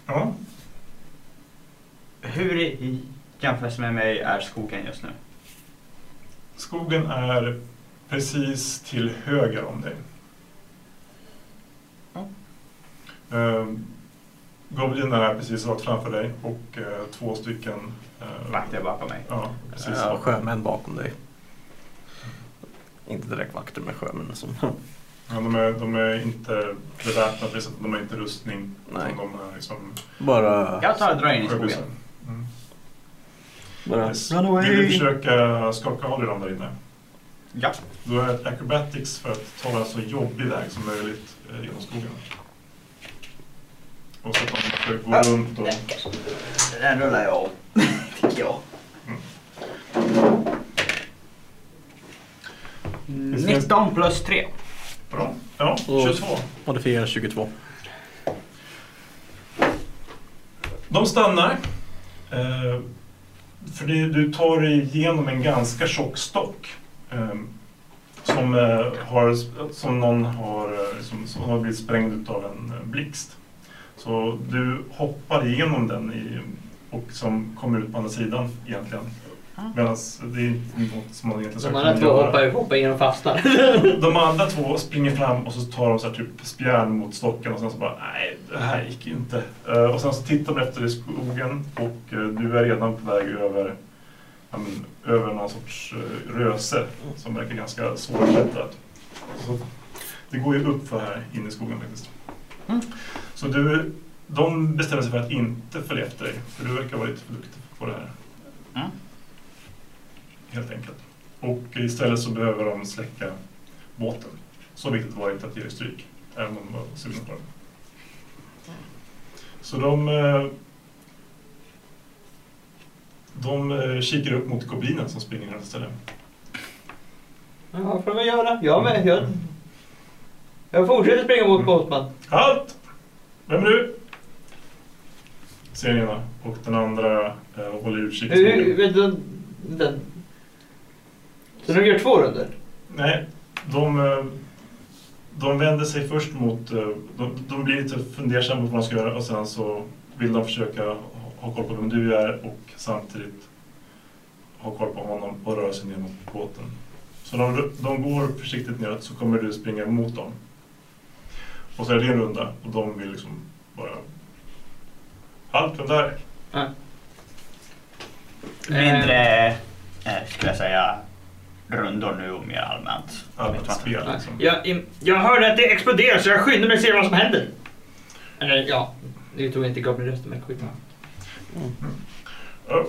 Speaker 2: Ja,
Speaker 6: hur i jämförelse med mig är skogen just nu?
Speaker 2: Skogen är precis till höger om dig.
Speaker 6: Ja.
Speaker 2: Ehm, Goblinen är precis rakt framför dig och eh, två stycken eh,
Speaker 6: Vakter bakom mig.
Speaker 2: Ja, precis.
Speaker 4: Ja, sjömän bakom dig. Inte direkt vakter men sjömän som...
Speaker 2: Ja, de, är, de är inte beväpnade, precis, de har inte rustning.
Speaker 4: Nej.
Speaker 2: utan De är liksom
Speaker 4: Bara...
Speaker 6: Jag tar och drar in i skogen.
Speaker 2: sjöbusar. Mm.
Speaker 4: bara
Speaker 2: Yes. Vill du försöka skaka av dig dem där inne?
Speaker 6: Ja.
Speaker 2: Du har ett acrobatics för att ta en så jobbig väg som möjligt eh, genom skogen. Och så att de försöker gå runt och...
Speaker 6: Den rullar jag av. Tycker jag.
Speaker 2: finns-
Speaker 6: 19 plus 3.
Speaker 2: Bra. Ja,
Speaker 4: Och-
Speaker 2: 22.
Speaker 4: Modifiera 22.
Speaker 2: De stannar. Eh, för det, du tar dig igenom en ganska tjock stock. Eh, som, eh, har, som någon har, eh, som, som har blivit sprängd av en eh, blixt. Så du hoppar igenom den i, och som kommer ut på andra sidan egentligen. Medan det är inte något som man egentligen
Speaker 7: De
Speaker 2: ska
Speaker 7: andra
Speaker 2: kunna
Speaker 7: två hoppar
Speaker 2: göra.
Speaker 7: ihop innan de fastnar.
Speaker 2: De andra två springer fram och så tar de så här typ spjärn mot stocken och sen så bara nej, det här gick ju inte. Eh, och sen så tittar de efter dig i skogen och eh, du är redan på väg över, ja, men, över någon sorts uh, röse som verkar ganska svårklättrat. Så det går ju upp för här inne i skogen faktiskt. Så du, de bestämmer sig för att inte följa efter dig, för du verkar vara lite för duktig på det här.
Speaker 6: Mm.
Speaker 2: Helt enkelt. Och istället så behöver de släcka båten. Så viktigt var det inte att ge dig stryk, även om de var sugna på den. Så de... eh, De eh, kikar upp mot goblinen som springer nästa ställe.
Speaker 7: Ja, får man göra. Jag med. Jag, jag fortsätter springa
Speaker 2: Mm.
Speaker 7: mot Båtman.
Speaker 2: Halt! Vem är du? Ser den ena. Och den andra eh, håller utkik. i
Speaker 7: Hur-
Speaker 2: skogen.
Speaker 7: vet du- Den. Så de gör två runder.
Speaker 2: Nej, de, eh, de vänder sig först mot... eh, De, de blir lite fundersamma på vad de ska göra och sen så vill de försöka ha- ha koll på vem du är och samtidigt ha koll på honom och röra sig ner mot båten. Så de, de går försiktigt neråt så kommer du springa mot dem. Och så är det en runda och de vill liksom bara... Halt, vem där?
Speaker 6: Mindre, eh, skulle jag säga, rundor nu och mer allmänt.
Speaker 2: Allmänt spel liksom.
Speaker 3: Jag, im- jag hörde att det exploderar så jag skyndar mig och ser vad som händer.
Speaker 7: Eller ja, nu tog jag inte Gabriel-rösten men skitsamma.
Speaker 2: Ja,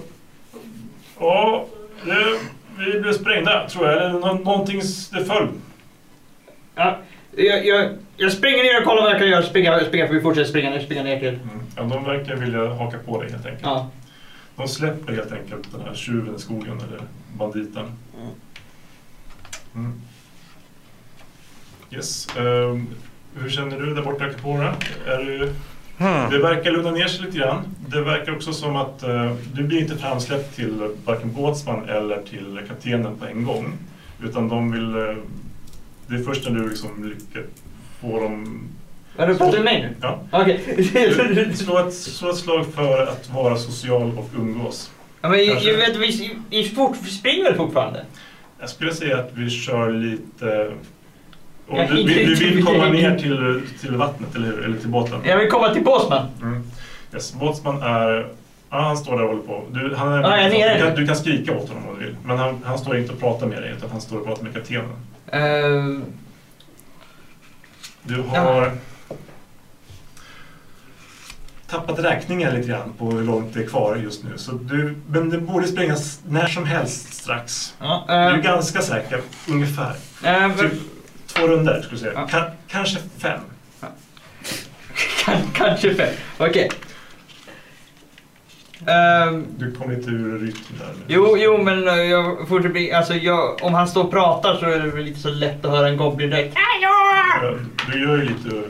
Speaker 2: Ja, det, vi blev sprängda tror jag. Eller nå- någonting, s- det föll.
Speaker 3: Ja, jag, jag, jag springer ner och kollar vad jag kan göra. Springa, springa för vi fortsätter springa ner, springa ner till...
Speaker 2: Ja, de verkar vilja haka på dig helt enkelt.
Speaker 3: Ja.
Speaker 2: De släpper helt enkelt den här tjuven i skogen, eller banditen. Mm. Yes. ehm, hur känner du där borta, Kapora? Är du... Det verkar lugna ner sig lite grann. Det verkar också som att eh, du blir inte framsläppt till varken båtsman eller till kaptenen på en gång. Utan de vill... eh, det är först när du liksom lyckas få dem...
Speaker 7: Ja, du pratar med mig nu?
Speaker 2: Ja.
Speaker 7: Okej.
Speaker 2: Du- Slå ett, slå ett slag för att vara social och umgås.
Speaker 3: Ja, men jag,
Speaker 2: Kanske.
Speaker 3: jag vet, vi, vi, fort, vi springer väl fortfarande?
Speaker 2: Jag skulle säga att vi kör lite... eh, Om
Speaker 3: Jag
Speaker 2: du,
Speaker 3: hinner
Speaker 2: vi,
Speaker 3: inte-
Speaker 2: vi vill komma ner till, till vattnet, eller hur? Eller till båten.
Speaker 3: Jag vill komma till Båsman.
Speaker 2: Mm. Yes, Båtsman är... Ja, han står där och håller på. Du, han är,
Speaker 3: Ja, jag är nere.
Speaker 2: du, kan, du kan skrika åt honom om du vill. Men han, han står inte och pratar med dig, utan han står och pratar med kaptenen.
Speaker 3: Uh,
Speaker 2: Du har... tappat räkningen lite grann på hur långt det är kvar just nu. Så du, men det borde sprängas när som helst strax.
Speaker 3: ja,
Speaker 2: Du
Speaker 3: eh,
Speaker 2: är ganska säker, ungefär.
Speaker 3: eh,
Speaker 2: Typ två runder skulle jag säga.
Speaker 3: Ja.
Speaker 2: Ka- kanske fem.
Speaker 3: kan- kanske fem. Okej. Ehm,
Speaker 2: Du kommer inte ur rytm där nu.
Speaker 3: Jo, jo, men eh, jag fortsätter bli, alltså jag, om han står och pratar så är det väl lite så lätt att höra en goblin direkt.
Speaker 2: Ja, Du gör ju lite,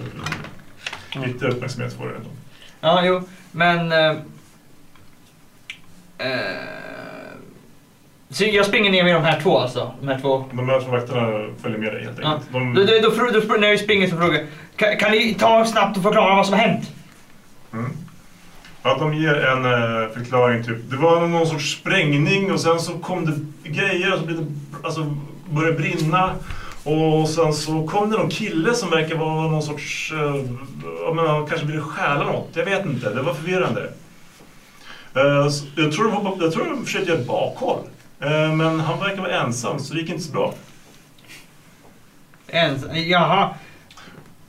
Speaker 2: lite uppmärksamhet på det ändå.
Speaker 3: Ja, jo, men... Eh, eh, så jag springer ner med de här två alltså. De här två.
Speaker 2: De här två vakterna följer med dig helt
Speaker 3: Ja.
Speaker 2: enkelt.
Speaker 3: Då, då,
Speaker 2: De,
Speaker 3: då, fr- då, fr- när jag springer så frågar jag, kan, kan ni ta snabbt och förklara vad som har hänt?
Speaker 2: mm. ja, de ger en eh, förklaring typ. Det var någon sorts sprängning och sen så kom det grejer och så blev det alltså, började brinna. Och sen så kom det någon kille som verkar vara någon sorts... eh, ja, men han kanske ville stjäla något. Jag vet inte. Det var förvirrande. Eh, så jag, tror de var, jag tror de försökte göra ett bakhåll. Eh, men han verkar vara ensam, så det gick inte så bra.
Speaker 3: Ens, jaha.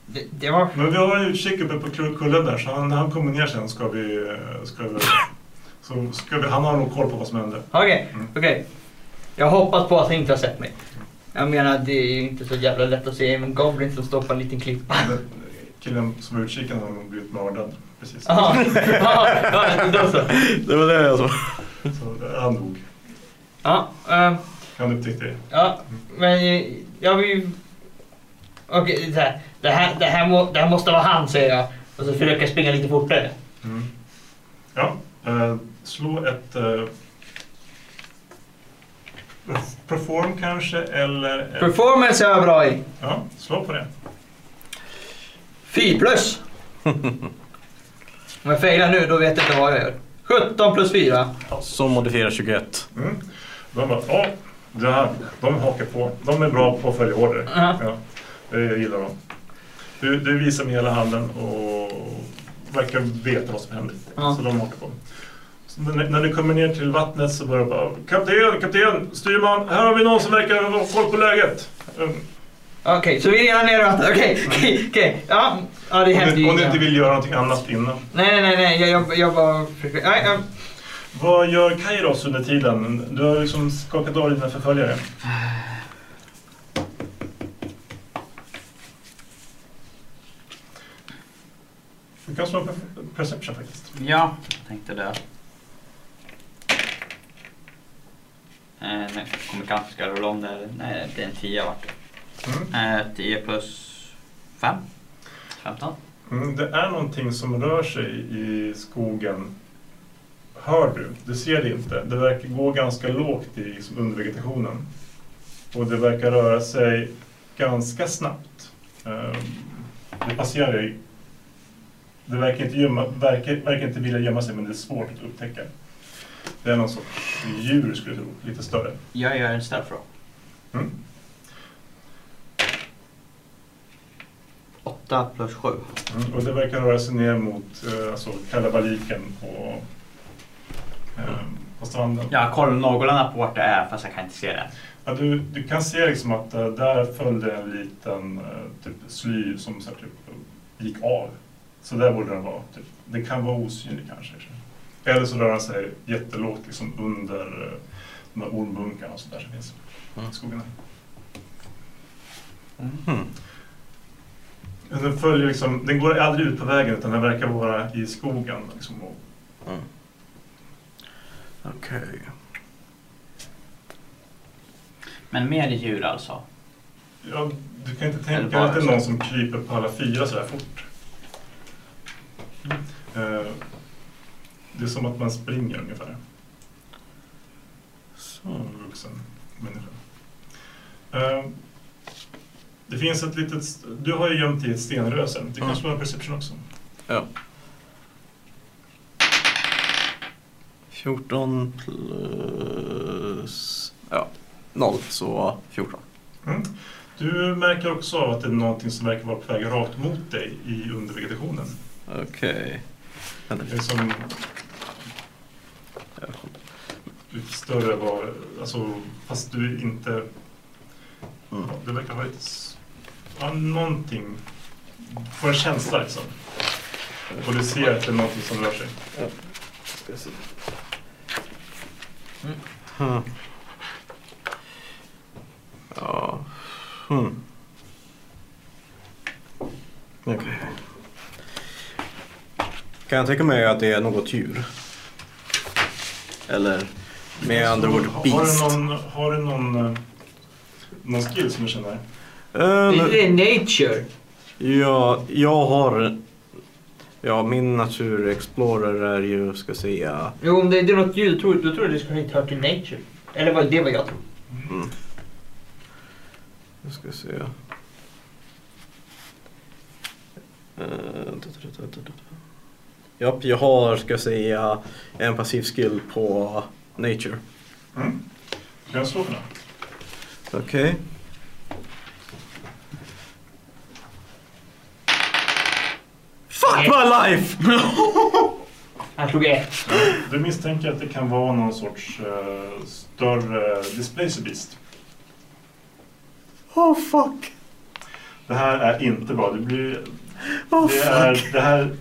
Speaker 3: Det, det var...
Speaker 2: Men vi har en utkik uppe på kul- kullen där, så han, när han kommer ner sen ska vi... eh, Ska vi så ska vi, han har nog koll på vad som hände.
Speaker 3: Okej,
Speaker 2: Mm.
Speaker 3: okej. Jag hoppas på att han inte har sett mig. Jag menar, det är ju inte så jävla lätt att se en goblin som står på en liten klippa.
Speaker 2: Den Killen som var utkiken har nog blivit mördad. Precis.
Speaker 3: Jaha, Jaha, ja, då så.
Speaker 4: Det var det jag sa.
Speaker 2: Så eh, han dog.
Speaker 3: Ja, ehm,
Speaker 2: Han upptäckte det.
Speaker 3: ja, men eh, jag vill ju- Okej, så här. det, här, det, här må, det här måste vara han säger jag. Och så försöker jag springa lite fortare.
Speaker 2: Mm. Ja, eh, slå ett... Eh, perform kanske, eller... Ett,
Speaker 3: Performance är jag bra i.
Speaker 2: Ja, slå på det.
Speaker 3: 4 plus. Om jag failar nu då vet jag inte vad jag gör. 17 plus 4.
Speaker 4: Som modifierar 21.
Speaker 2: Mm. De bara, ja, det här, de hakar på. De är bra på att följa order.
Speaker 3: Ja.
Speaker 2: Ja, det gillar de. Du, du visar med hela handen och verkar veta vad som händer.
Speaker 3: Ja.
Speaker 2: Så de hakar på. Så när, när ni kommer ner till vattnet så börjar de bara, kapten, kapten, styrman, här har vi någon som verkar ha koll på läget. Mm.
Speaker 3: Okej, så vi är redan nere i vattnet. Okej, okej, okej. Ja, ja, det
Speaker 2: Om
Speaker 3: händer
Speaker 2: ni,
Speaker 3: ju
Speaker 2: om ni
Speaker 3: inga-
Speaker 2: inte vill göra någonting annat innan.
Speaker 3: Nej, nej, nej, nej. Jag, jag, jag bara... försöker- Nej, jag,
Speaker 2: Vad gör Kairos under tiden? Du har liksom skakat av dina förföljare. Du kan slå en per- perception faktiskt.
Speaker 6: Ja, jag tänkte det. Eh, nej, jag kommer kanske ska rulla om det. Nej, det blir en 10 vart
Speaker 2: Mm.
Speaker 6: det. Eh, 10 plus 5. 15.
Speaker 2: Mm, det är någonting som rör sig i skogen. Hör du? Du ser det inte. Det verkar gå ganska lågt i liksom, undervegetationen. Och det verkar röra sig ganska snabbt. Ehm, Det passerar i... Det verkar inte, gömma, verkar, verkar inte vilja gömma sig men det är svårt att upptäcka. Det är någon sorts djur skulle jag tro, lite större.
Speaker 6: Jag gör en stealth roll.
Speaker 2: Mm.
Speaker 6: 8 plus 7.
Speaker 2: Mm, och det verkar röra sig ner mot eh, alltså, kalabaliken på, ehm, på stranden.
Speaker 6: Jag kollar någorlunda på vart det är fast jag kan inte se det.
Speaker 2: Ja, du, du kan se liksom att eh, där följde en liten eh, typ, sly som så här, typ, gick av. Så där borde den vara. Typ. Den kan vara osynlig kanske. Eller så rör den sig jättelågt liksom, under eh, de här ormbunkarna och sånt där som finns i skogen.
Speaker 4: Hmm.
Speaker 2: Men Den, följer, liksom, den går aldrig ut på vägen utan den verkar vara i skogen. Liksom, och
Speaker 4: Okej.
Speaker 6: Men mer djur alltså.
Speaker 2: Ja, du kan inte
Speaker 6: Eller
Speaker 2: tänka
Speaker 6: bara
Speaker 2: att det är
Speaker 6: så.
Speaker 2: någon som kryper på alla fyra sådär fort. Eh, Det är som att man springer ungefär. Så. En vuxen människa. Eh, Det finns ett litet... st- Du har ju gömt i ett stenrö sen. Det kanske var en perception också.
Speaker 4: 14 plus... Ja, 0. Så 14.
Speaker 2: Mm. Du märker också av att det är någonting som verkar vara på väg rakt mot dig i undervegetationen.
Speaker 4: Okej.
Speaker 2: Det är som lite större var, alltså, fast du inte...
Speaker 4: Mm.
Speaker 2: Ja, det verkar ha lite... s- Ja, någonting. Får en känsla liksom. Och du ser att det är någonting som rör sig.
Speaker 4: Hmm. Ja. Hmm. Okej. Kan jag tänka mig att det är något djur? Eller med andra ord
Speaker 2: Har-
Speaker 4: beast?
Speaker 2: Har du någon, har du någon, eh, någon skill som du känner?
Speaker 4: Eh, nu-
Speaker 3: det är nature.
Speaker 4: Ja, jag har... Ja, min Natur Explorer är ju, ska jag säga...
Speaker 3: Jo, om det, det är något ljud, tror, då tror jag det skulle inte höra till nature. Eller vad, det var jag tror.
Speaker 4: Mm. Jag ska se. Eh, Eh, da-da-da-da-da-da. Japp, jag har, ska jag säga, en passiv skill på Nature.
Speaker 2: Mm. Kan jag slå för det?
Speaker 4: Okej. Fuck my life!
Speaker 3: Han slog ett.
Speaker 2: Du misstänker att det kan vara någon sorts eh, större displacer beast.
Speaker 4: Oh fuck!
Speaker 2: Det här är inte bra. Det, blir,
Speaker 4: Oh
Speaker 2: det,
Speaker 4: fuck!
Speaker 2: är, det här,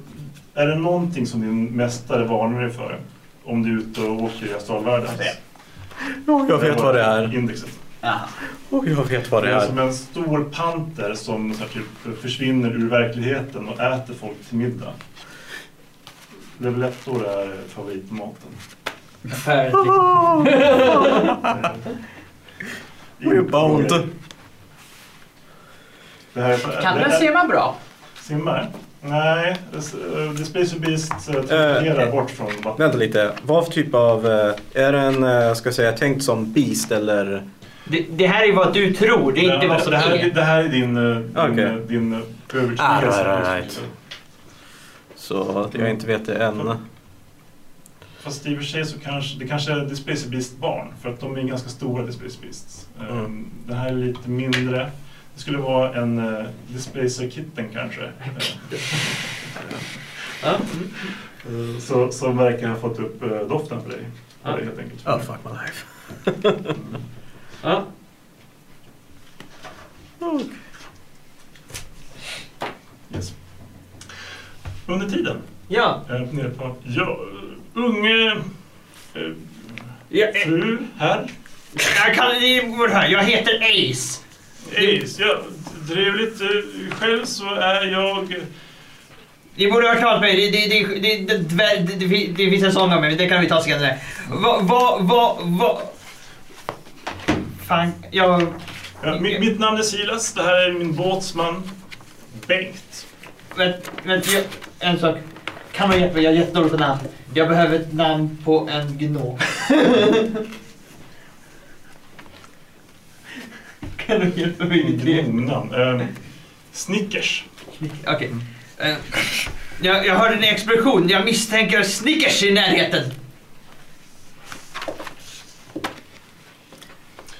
Speaker 2: är det någonting som din mästare varnar dig för? Om du är ute och åker i astralvärlden?
Speaker 6: Vad säger
Speaker 4: Oh, jag vet vad det är.
Speaker 2: Indexet.
Speaker 6: Jaha.
Speaker 4: Oh, jag vet vad
Speaker 2: Det
Speaker 4: det
Speaker 2: är som
Speaker 4: är.
Speaker 2: en stor panter som så här, typ, försvinner ur verkligheten och äter folk till middag. Levelettor är favoritmaten.
Speaker 3: Apparently.
Speaker 4: We're bound.
Speaker 2: Det här är-
Speaker 8: Kan
Speaker 2: det
Speaker 8: den
Speaker 2: här-
Speaker 8: simma bra?
Speaker 2: Simmar? Nej, s- eh, The Space Beast eh,
Speaker 4: Eh,
Speaker 2: transporterar
Speaker 4: eh.
Speaker 2: bort från vattnet.
Speaker 4: Vänta lite. Vad för typ av... eh, Är den, eh, ska jag säga, tänkt som beast eller...
Speaker 3: Det, det här är vad du tror, det är inte
Speaker 2: Nej,
Speaker 3: vad
Speaker 2: alltså,
Speaker 3: som
Speaker 2: det, här,
Speaker 3: är.
Speaker 2: det här är din, eh, din,
Speaker 4: Okej.
Speaker 2: eh, din eh,
Speaker 4: Ah, right,
Speaker 2: övertygelse.
Speaker 4: right, right. Så att jag inte vet det än.
Speaker 2: Fast i och för sig så kanske det kanske är The Space Beast barn. För att de är ganska stora The Space Beasts. Eh,
Speaker 4: Mm.
Speaker 2: Det här är lite mindre. Det skulle vara en eh, Displacer Kitten kanske. Eh,
Speaker 8: Ja.
Speaker 2: eh, så, som verkar ha fått upp eh, doften för dig. För
Speaker 8: Ja.
Speaker 2: dig helt enkelt.
Speaker 4: Oh fuck my life.
Speaker 8: Ja.
Speaker 2: Yes. Under tiden
Speaker 3: Ja,
Speaker 2: Eh, nere på- Ja, eh, unge eh,
Speaker 3: ja, eh,
Speaker 2: fru herr.
Speaker 3: jag, kan, det är- här, jag heter Ace.
Speaker 2: Ace, ja, trevligt. Eh, Själv så är jag...
Speaker 3: Ni borde ha hört talas om mig. Det, det, det, det, det, dvär- det, det, fin- det finns en sång om mig, men det kan vi ta senare. Vad, vad, vad, vad... Fan, jag...
Speaker 2: Ja, mi- mitt namn är Silas, det här är min båtsman Bengt.
Speaker 3: Vänt, vänt, jag, en sak. Kan man hjälpa mig? Jag är jättedålig på namn. Jag behöver ett namn på en gnom. kan du hjälpa mig med det?
Speaker 2: Gnomnamn. Eh, Snickers.
Speaker 3: Okej. Eh, jag, jag hörde en explosion. Jag misstänker Snickers i närheten.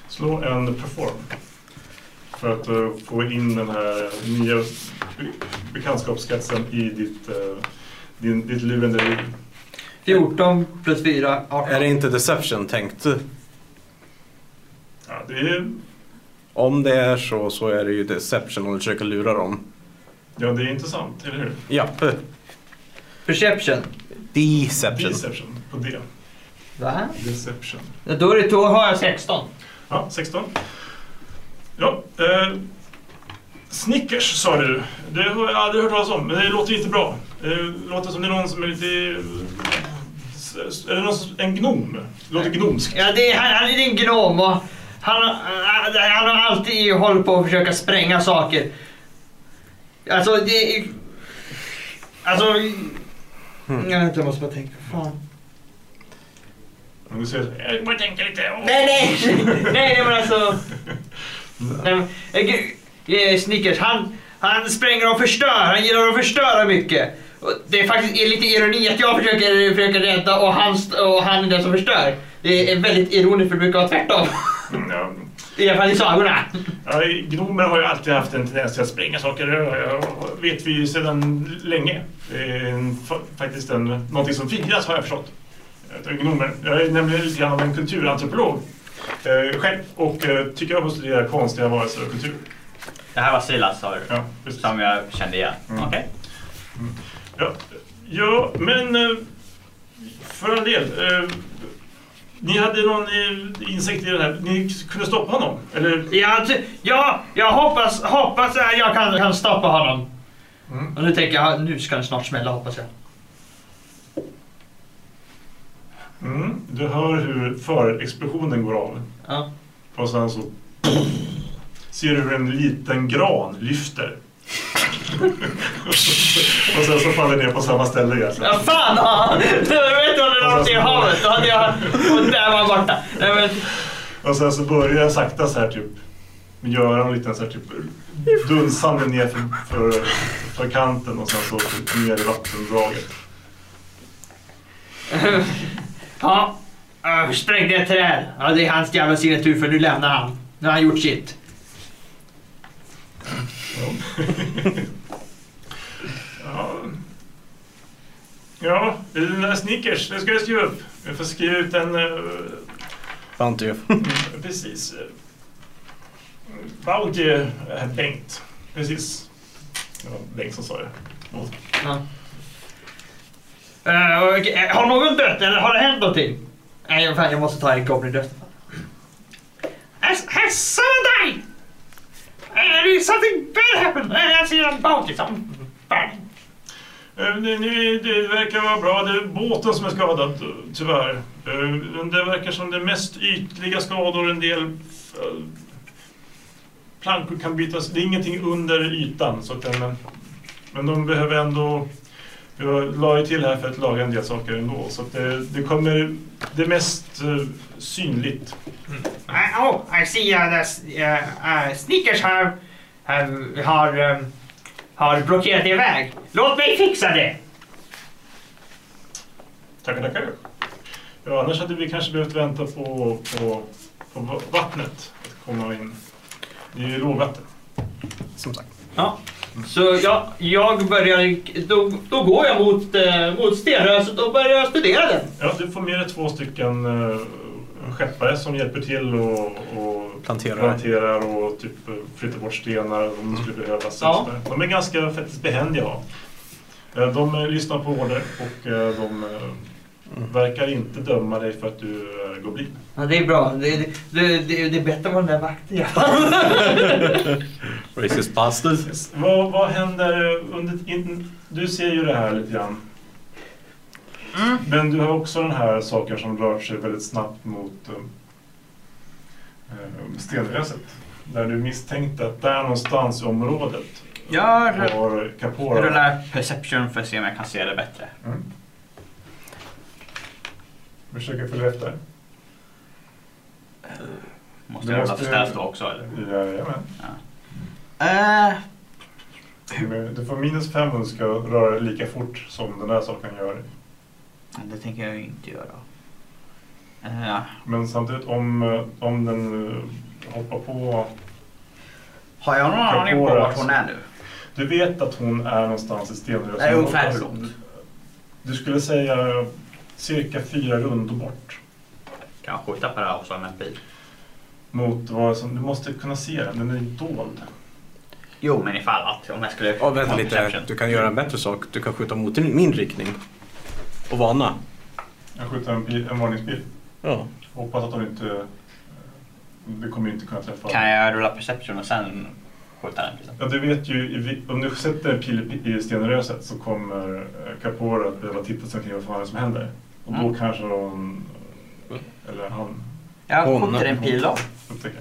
Speaker 2: Slå en perform. För att eh, få in den här nya be- bekantskapskretsen i ditt, eh, din, ditt lurendrejeri.
Speaker 3: 14 plus 4, 18.
Speaker 4: Är det inte deception tänkt?
Speaker 2: Ja, det är
Speaker 4: Om det är så, så är det ju deception om du försöker lura dem.
Speaker 2: Ja, det är intressant, eller hur?
Speaker 4: Japp.
Speaker 3: Perception.
Speaker 4: Deception.
Speaker 2: Deception på det.
Speaker 3: Va?
Speaker 2: Deception.
Speaker 3: Ja, Då, är det, då har jag 16.
Speaker 2: Ja, 16. Ja, eh, Snickers sa du. Det har jag aldrig hört talas om, men det låter inte bra. Det låter som det är någon som är lite... s- s- Är det någon som, en gnom? Det låter gnomskt.
Speaker 3: Ja, det är, han, han är din gnom och han, han, han har alltid hållit på att försöka spränga saker. Alltså det... är- Alltså...
Speaker 4: Hmm.
Speaker 3: Jag, vet inte, jag måste bara tänka. Fan.
Speaker 2: Om du säger så, jag får tänka lite. åh."
Speaker 3: Nej, nej! nej, nej men alltså... Nej, men, eh, gud, eh, Snickers, han, han spränger och förstör. Han gillar att förstöra mycket. Och det är faktiskt lite ironi att jag försöker, försöker rädda och han, st- och han är den som förstör. Det är väldigt ironiskt för det brukar vara tvärtom.
Speaker 2: Mm, ja.
Speaker 3: I alla fall i sagorna.
Speaker 2: Ja, gnomer har ju alltid haft en tendens till att spränga saker. Det vet vi ju sedan länge. Det är en, fa- faktiskt en, någonting som firas har jag förstått. Eh, Gnomer. Jag är nämligen lite grann av en kulturantropolog eh, själv och eh, tycker om att studera konstiga varelser och kultur.
Speaker 6: Det här var Silas sa du?
Speaker 2: Ja, precis.
Speaker 6: Som jag kände igen.
Speaker 2: Mm.
Speaker 6: Okej.
Speaker 2: Ja, ja men eh, för en del. Eh, ni hade någon eh, insikt i det här. Ni kunde stoppa honom? Eller?
Speaker 3: Ja, ty- ja, jag hoppas, hoppas att jag kan, kan stoppa honom.
Speaker 2: Mm.
Speaker 3: Och nu tänker jag, nu ska det snart smälla hoppas jag.
Speaker 2: Mm. Du hör hur förexplosionen går av.
Speaker 3: Ja.
Speaker 2: Och sen så ser du hur en liten gran lyfter. och sen så faller ner på samma ställe igen.
Speaker 3: Ja, fan! Ja. Jag vet inte om det var i havet. Då hade jag... Och där var han borta. Nej, men,
Speaker 2: Och sen så börjar jag sakta så här typ göra en liten så här typ dunsande ner för, för, för kanten och sen så typ ner i vattendraget.
Speaker 3: ja. Jag sprängde ett träd. Ja, det är hans jävla signatur för nu lämnar han. Nu har han gjort sitt.
Speaker 2: Ja. Ja, det är den där Snickers, det ska jag skriva upp. Jag får skriva ut en... eh,
Speaker 4: Bounty.
Speaker 2: Precis. eh, Bounty är Bengt. Precis. Det var Bengt som sa det.
Speaker 3: Eh, och, eh, har någon dött eller har det hänt någonting? Nej, fan jag måste ta en goblin död. Hälsa dig! Uh, something bad happened! Uh, I see a bounty, something bad.
Speaker 2: Eh, Det, ni- det verkar vara bra. Det är båten som är skadad, tyvärr. Eh, men Det verkar som det är mest ytliga skador. En del eh, plankor kan bytas. Det är ingenting under ytan. Så att, den- men, men de behöver ändå... Jag la ju till här för att laga en del saker ändå. Så att det, det kommer... Det mest eh, synligt.
Speaker 3: I, oh, I see uh, the s- uh, uh, sneakers have, have, har, um, har blockerat er väg. Låt mig fixa det!
Speaker 2: Tackar, tackar. Ja, annars hade vi kanske behövt vänta på, på, på vattnet att komma in. Det är ju lågvatten.
Speaker 4: Som sagt.
Speaker 3: Så jag, jag börjar, då, då går jag mot, eh, mot stenröset och börjar studera den.
Speaker 2: Ja, du får med dig två stycken uh, skeppare som hjälper till och, och
Speaker 4: Planterar.
Speaker 2: planterar och typ eh, flyttar bort stenar om det skulle behövas. eh,
Speaker 3: Ja.
Speaker 2: De är ganska faktiskt behändiga. Eh, De eh, lyssnar på order och eh, de eh, verkar inte döma dig för att du eh, är goblin.
Speaker 3: Ja, det är bra. Det, det, det, det, det är bättre än den där vakten jag
Speaker 4: Racist bastard.
Speaker 2: Yes. Vad, vad händer under... In, du ser ju det här lite grann. Men du har också den här saken som rör sig väldigt snabbt mot um, eh, eh, stenröset. Där du misstänkte att där någonstans i området
Speaker 6: Jag rull-
Speaker 2: har Capora...
Speaker 6: rullar perception för att se om jag kan se det bättre.
Speaker 2: Mm. Försöker följa efter.
Speaker 6: Måste
Speaker 2: Du
Speaker 6: jag rulla
Speaker 2: måste-
Speaker 6: för stealth då också eller?
Speaker 2: Jajamän.
Speaker 6: Eh,
Speaker 2: Men Du får minus fem om du ska röra dig lika fort som den här saken gör.
Speaker 6: det tänker jag ju inte göra. Eh,
Speaker 2: Men samtidigt om, eh, om den eh, hoppar på
Speaker 6: har jag någon aning om vart hon är nu?
Speaker 2: Du vet att hon är någonstans i Stenröset?
Speaker 6: Nej, ungefär hur långt?
Speaker 2: Du skulle säga cirka fyra rundor bort.
Speaker 6: Kan jag skjuta på det här också med en pil?
Speaker 2: Mot vad som, du måste kunna se den, den är ju dold.
Speaker 6: Jo, men ifall att om jag skulle...
Speaker 4: Ja, vänta
Speaker 6: ha
Speaker 4: lite.
Speaker 6: perception.
Speaker 4: Du kan göra en bättre sak. Du kan skjuta mot min riktning. Och varna.
Speaker 2: Jag skjuter en, pil, en varningspil.
Speaker 4: Ja.
Speaker 2: Hoppas att de inte... Du kommer ju inte kunna träffa.
Speaker 6: Kan jag rulla perception och sen skjuta den liksom? pilen?
Speaker 2: Ja, du vet ju, i vi- om du sätter en pil i- i Stenröset så kommer eh, Capora att behöva titta sig omkring vad fan det är som händer. Och då
Speaker 6: Mm.
Speaker 2: kanske hon... eh, Eller han
Speaker 6: Jag
Speaker 4: Hon-
Speaker 6: skjuter en pil då.
Speaker 2: upptäcker.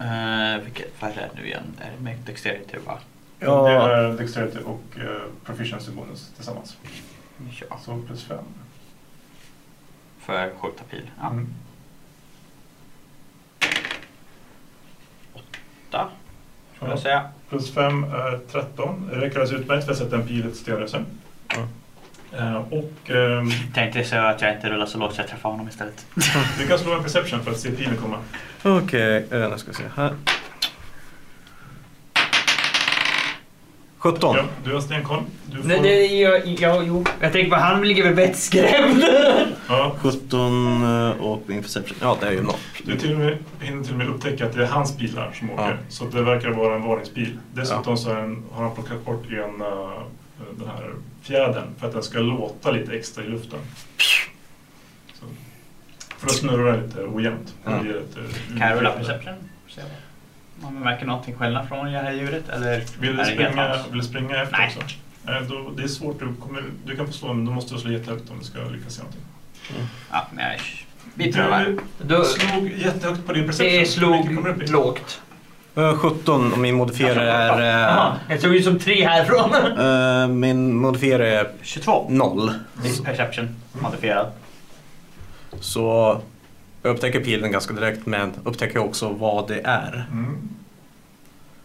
Speaker 6: Uh, vilket, vad är det nu igen? Är det med dexterity va?
Speaker 2: Det
Speaker 4: Ja.
Speaker 2: är Dexterity och eh, Proficiency bonus tillsammans.
Speaker 6: Ja,
Speaker 2: Så Alltså plus fem.
Speaker 6: för skjuta pil. Ja.
Speaker 2: Mm.
Speaker 6: Åtta, skulle
Speaker 2: Ja.
Speaker 6: jag säga.
Speaker 2: Plus 5 är 13. Det räcker alldeles utmärkt för att sätta en pil i ett stenröse.
Speaker 4: Ja.
Speaker 2: Eh, Och ehm,
Speaker 6: Tänkte säga att jag inte rullar så lågt så jag träffar honom istället.
Speaker 2: du kan slå en perception för att se pilen komma.
Speaker 4: Okej, eh, nu ska vi se här. 17.
Speaker 2: Ja, du har stenkoll. Du får,
Speaker 3: Nej, nej, jag, jag, jo. jag tänker på han ligger väl vettskrämd.
Speaker 2: Ja,
Speaker 4: 17 eh, och min perception. Ja, det är ju noll.
Speaker 2: du till och med, hinner till och med upptäcka att det är hans pilar som åker.
Speaker 4: Ja.
Speaker 2: Så det verkar vara en varningspil. Dessutom så är den, har han plockat bort en, eh, den här fjädern för att den ska låta lite extra i luften. Så. För då snurrar den lite ojämnt.
Speaker 4: Ja.
Speaker 2: Det ger ett, eh,
Speaker 6: Kan jag rulla
Speaker 2: ljud.
Speaker 6: perception? Se vad- Om man märker någonting skillnad från det här djuret eller?
Speaker 2: Vill du,
Speaker 6: är det helt
Speaker 2: springa,
Speaker 6: hans?
Speaker 2: vill du springa efter
Speaker 6: Nej.
Speaker 2: också? Nej. Då, det är svårt, du, kommer, du kan få slå men du måste slå jättehögt om du ska lyckas se någonting.
Speaker 6: Ja, men jag, vi prövar.
Speaker 3: Då,
Speaker 2: Du slog jättehögt på din perception.
Speaker 3: det
Speaker 2: Vilken kommer upp i?
Speaker 3: slog lågt.
Speaker 4: Eh, 17 och min modifierare
Speaker 3: Jaha,
Speaker 4: är...
Speaker 3: jag såg ut som tre härifrån.
Speaker 4: eh, eh, Min modifierare är
Speaker 6: 22.
Speaker 4: 0.
Speaker 6: Min Perception modifierad.
Speaker 4: Så jag upptäcker pilen ganska direkt men upptäcker också vad det är
Speaker 2: Mm.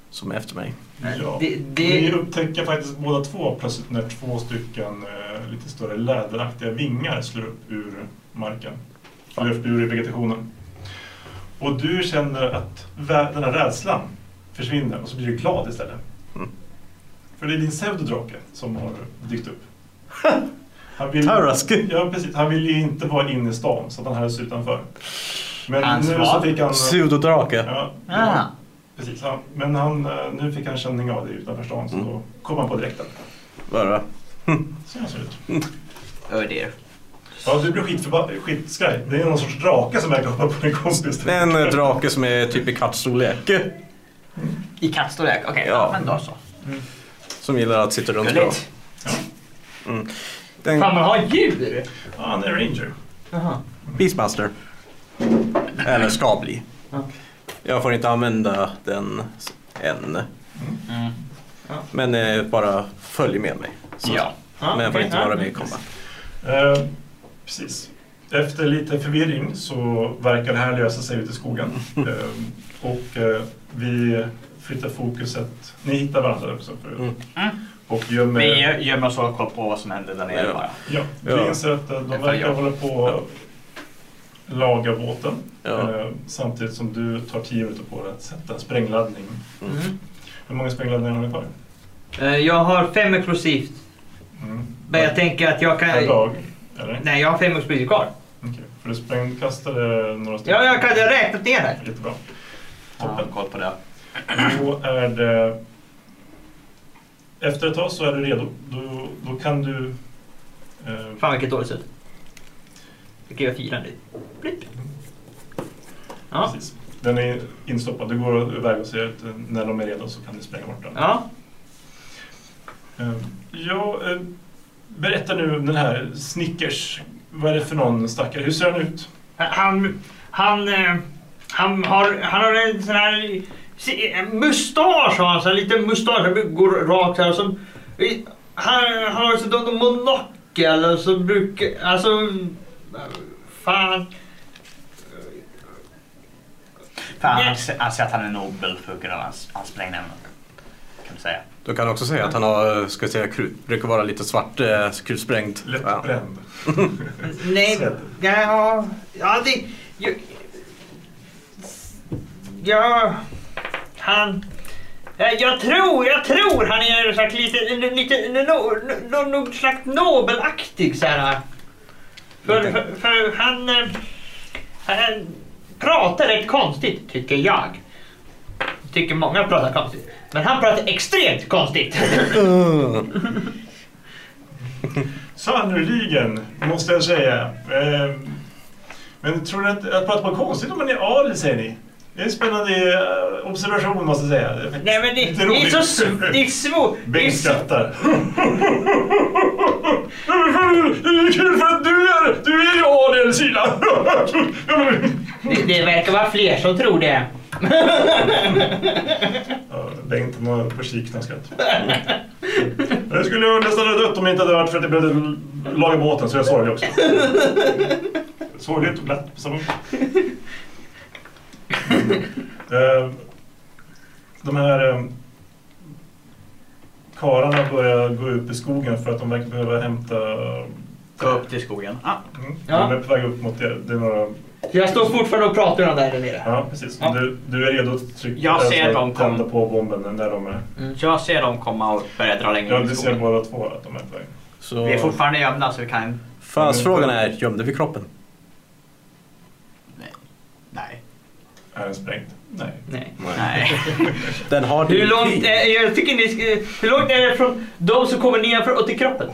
Speaker 4: som är efter mig.
Speaker 2: Ja.
Speaker 3: Det,
Speaker 2: Ni
Speaker 3: det,
Speaker 2: upptäcker faktiskt båda två plötsligt när två stycken eh, lite större läderaktiga vingar slår upp ur marken. Eller upp ur vegetationen. Och du känner att vä- den här rädslan försvinner och så blir du glad istället.
Speaker 4: Mm.
Speaker 2: För det är din pseudodrake som har dykt upp. Han vill,
Speaker 4: Tarask.
Speaker 2: ja, precis, han vill ju inte vara inne i stan så att han hölls utanför. Men
Speaker 6: Hans
Speaker 2: nu så
Speaker 6: vad?
Speaker 2: fick han...
Speaker 4: Pseudodrake.
Speaker 2: Ja,
Speaker 6: Ah.
Speaker 2: ja, precis. Han, men han, eh, nu fick han känning av det utanför stan så
Speaker 4: Mm.
Speaker 2: då kom han på direkten.
Speaker 4: Bara.
Speaker 2: Så han ser ut.
Speaker 7: Oh dear.
Speaker 2: Ja, du blir skitförba- skitskraj. Det är någon sorts drake som verkar hoppa på din kompis.
Speaker 4: Det är en eh, drake som är typ i kattstorlek.
Speaker 7: I kattstorlek? Okej,
Speaker 4: Ja.
Speaker 7: men då så.
Speaker 4: Som gillar att sitta runt bra.
Speaker 7: Gulligt.
Speaker 4: Mm. Den
Speaker 3: Fan, man har djur!
Speaker 2: Ja, han är ranger.
Speaker 3: Jaha.
Speaker 4: Beastmaster. Eller ska bli.
Speaker 3: Ja.
Speaker 4: Jag får inte använda den s- än.
Speaker 6: Mm.
Speaker 4: Men eh, bara följ med mig. Så.
Speaker 6: Ja.
Speaker 3: Ja,
Speaker 4: Men jag får
Speaker 3: okej,
Speaker 4: inte
Speaker 3: ja.
Speaker 4: vara med i kombat.
Speaker 2: Eh, precis. Efter lite förvirring så verkar det här lösa sig ute i skogen. Eh, och eh, vi flyttar fokuset. Ni hittar varandra också förut.
Speaker 4: Mm.
Speaker 6: Mm.
Speaker 2: Och gömmer...
Speaker 6: Vi gö- gömmer oss och kollar på vad som händer där nere
Speaker 4: Ja.
Speaker 6: bara.
Speaker 2: Ja, vi
Speaker 4: Ja.
Speaker 2: inser att eh, de
Speaker 5: Detta
Speaker 2: verkar
Speaker 5: jag.
Speaker 2: hålla på att laga båten.
Speaker 4: Ja.
Speaker 2: Eh, samtidigt som du tar tio minuter på dig att sätta en sprängladdning.
Speaker 3: Mm.
Speaker 2: Hur många sprängladdningar har ni kvar?
Speaker 3: Eh, Jag har fem explosivt.
Speaker 2: Mm.
Speaker 3: Men jag tänker att jag kan...
Speaker 2: Per dag? Eller?
Speaker 3: Nej, jag har fem explosivt kvar.
Speaker 2: Okej, för du sprängkastade några stycken?
Speaker 3: Ja, jag kan jag har räknat ner här.
Speaker 2: Jättebra.
Speaker 6: Ja,
Speaker 2: Toppen.
Speaker 6: koll på det.
Speaker 2: Då är det... Efter ett tag så är du redo. Då, då kan du... Eh,
Speaker 3: Fan vilket dåligt slut. Då kan jag fyra nu. Blipp. Ja.
Speaker 2: Precis. Den är instoppad. Du går iväg och ser att eh, när de är redo så kan du spränga bort den.
Speaker 3: Ja.
Speaker 2: Eh, ja, eh, berätta nu om den här Snickers. Vad är det för någon stackare? Hur ser han ut?
Speaker 3: Han, han, eh, han, har, han har en sån här se- en mustasch, har han, så här liten mustasch som går rakt här. Som, i- han, han har sån där monokel och så brukar, alltså, fan.
Speaker 6: Fan,
Speaker 3: Nej.
Speaker 6: han ser- han ser att han är nobel för att kunna hans, hans sprängämnen. Kan man säga.
Speaker 4: Du kan också säga att han har, eh, ska jag säga, krut, brukar vara lite svart, eh, krutsprängd. Ja.
Speaker 2: Lättbränd.
Speaker 3: Nej,
Speaker 2: Svett.
Speaker 3: ja, ja det... Jag, ja, han... ja, Jag tror, jag tror han är så här lite, lite, lite no, no, någon slags nobelaktig så här. För,
Speaker 4: Lite.
Speaker 3: för, för han, eh, han pratar rätt konstigt tycker jag. Tycker många pratar konstigt. Men han pratar extremt konstigt.
Speaker 4: Mm.
Speaker 2: Sannerligen, måste jag säga. Eh, men tror ni att, att prata på konstigt om man är adel, säger ni? Det är en spännande eh, observation, måste jag säga. Det är
Speaker 3: Nej men det,
Speaker 2: lite
Speaker 3: det är
Speaker 2: roligt.
Speaker 3: så sv- det är svårt. det är
Speaker 2: Bengt
Speaker 3: så-
Speaker 2: skrattar. Det är kul för att du är, du är ju adel, Sila.
Speaker 3: Det, det verkar vara fler som tror det.
Speaker 2: Ja, Bengt han har på kiknadskratt. Det skulle jag nästan ha dött om det inte hade varit för att jag behövde laga båten, så jag är sorglig också. Sorgligt och glatt på samma gång. Eh, De här eh, karlarna börjar gå upp i skogen för att de verkar behöva hämta...
Speaker 6: Gå upp till skogen. Ah.
Speaker 2: Mm,
Speaker 3: Ja.
Speaker 2: De är på väg upp mot det. det är några,
Speaker 3: Jag står fortfarande och pratar med dem där nere.
Speaker 2: ja, precis.
Speaker 6: Ja.
Speaker 2: Du, du är redo att trycka
Speaker 6: Jag ser
Speaker 2: alltså,
Speaker 6: dem kom-
Speaker 2: tända på bomben när de är...
Speaker 6: Jag ser dem komma och börja dra längre
Speaker 2: Ja,
Speaker 6: in i
Speaker 2: du ser
Speaker 6: skogen.
Speaker 2: båda två att de är på väg.
Speaker 6: Vi är
Speaker 4: Så
Speaker 6: fortfarande gömda så vi kan...
Speaker 4: fast frågan är, gömde vi kroppen?
Speaker 6: Nej.
Speaker 2: Är den sprängd? Nej.
Speaker 3: Nej.
Speaker 6: Nej.
Speaker 4: Den har
Speaker 3: Hur
Speaker 4: direktiv.
Speaker 3: långt, är, jag tycker ni, ska- hur långt är det från de som kommer nedanför och till kroppen?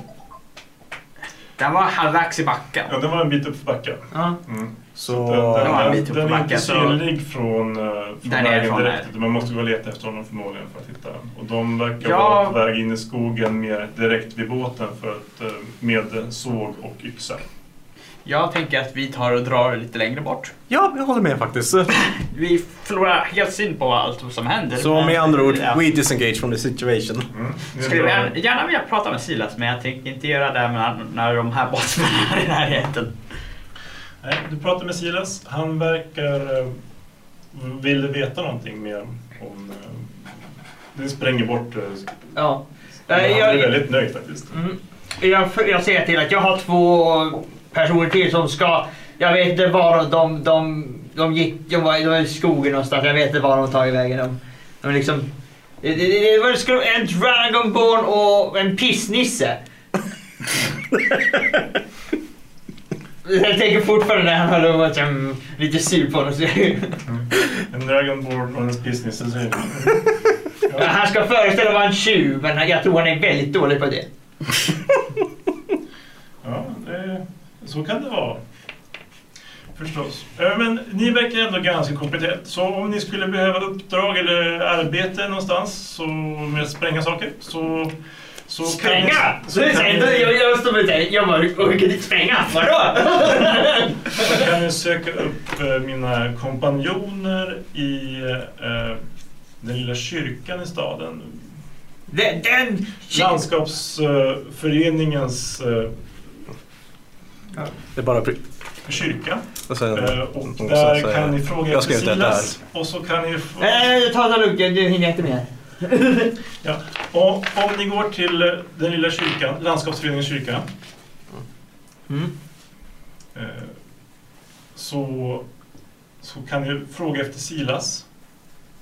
Speaker 6: Den var halvvägs i backen.
Speaker 2: Ja, den var en bit upp för backen.
Speaker 3: Ja.
Speaker 2: Mm.
Speaker 4: Så...
Speaker 2: Den, den,
Speaker 6: Det var en bit
Speaker 2: den, den
Speaker 6: upp för
Speaker 2: är inte
Speaker 6: backen, så-
Speaker 2: synlig från, eh, från vägen
Speaker 6: Där nerifrån
Speaker 2: direkt.
Speaker 6: där.
Speaker 2: utan Man måste gå och leta efter honom förmodligen för att hitta den. Och de verkar
Speaker 6: Ja.
Speaker 2: vara på väg in i skogen mer direkt vid båten för att, eh, med såg och yxa.
Speaker 5: Jag tänker att vi tar och drar lite längre bort.
Speaker 4: Ja, jag håller med faktiskt.
Speaker 5: Vi förlorar helt syn på allt som händer.
Speaker 4: Så med andra ord,
Speaker 6: Ja.
Speaker 4: we disengage from the situation.
Speaker 2: Mm. Det är
Speaker 6: Skulle
Speaker 2: bra.
Speaker 6: gärna, gärna vilja prata med Silas men jag tänker inte göra det när, när de här båtsmännen är i närheten.
Speaker 2: Nej, du pratar med Silas. Han verkar eh, ville veta någonting mer om... Eh, det spränger bort... Eh,
Speaker 3: ja.
Speaker 2: han
Speaker 3: Eh,
Speaker 2: är
Speaker 3: Jag,
Speaker 2: väldigt nöjd faktiskt.
Speaker 3: Mm. jag, jag säger till att jag har två personer till som ska... Jag vet inte var de, de de gick, de var, de var i skogen någonstans, jag vet inte var de tagit vägen. De, de liksom, det, det, det var skulle vara en Dragonborn och en pissnisse. jag tänker fortfarande när han höll och var liksom, lite sur på honom. Så,
Speaker 2: En Dragonborn och en pissnisse säger man.
Speaker 3: han ska föreställa vara en tjuv men jag tror han är väldigt dålig på det.
Speaker 2: Ja, det, så kan det vara. Förstås. Eh, Men ni verkar ändå ganska kompetent. Så om ni skulle behöva uppdrag eller arbete någonstans så med att spränga saker så... så
Speaker 3: Spränga!
Speaker 2: Kan ni,
Speaker 3: Så
Speaker 2: så
Speaker 3: det är
Speaker 2: kan
Speaker 3: så här, då-
Speaker 2: ni,
Speaker 3: Jag jag står och säger, jag bara, "Åh, inte spränga, vadå?
Speaker 2: så kan ni söka upp eh, mina kompanjoner i eh, den lilla kyrkan i staden.
Speaker 3: Den, den,
Speaker 2: Landskapsföreningens eh,
Speaker 4: Det är bara... pri-
Speaker 2: kyrka.
Speaker 4: Och sen,
Speaker 2: Eh, och
Speaker 4: så-
Speaker 2: där
Speaker 4: så-
Speaker 2: kan ni fråga
Speaker 4: Jag skrev det där.
Speaker 2: Silas och så kan ni... få-
Speaker 3: Nej, ta det lugnt, du hinner inte mer.
Speaker 2: Och om ni går till eh, den lilla kyrkan, landskapsföreningens kyrka.
Speaker 3: Mm.
Speaker 2: eh, Så, så kan ni fråga efter Silas.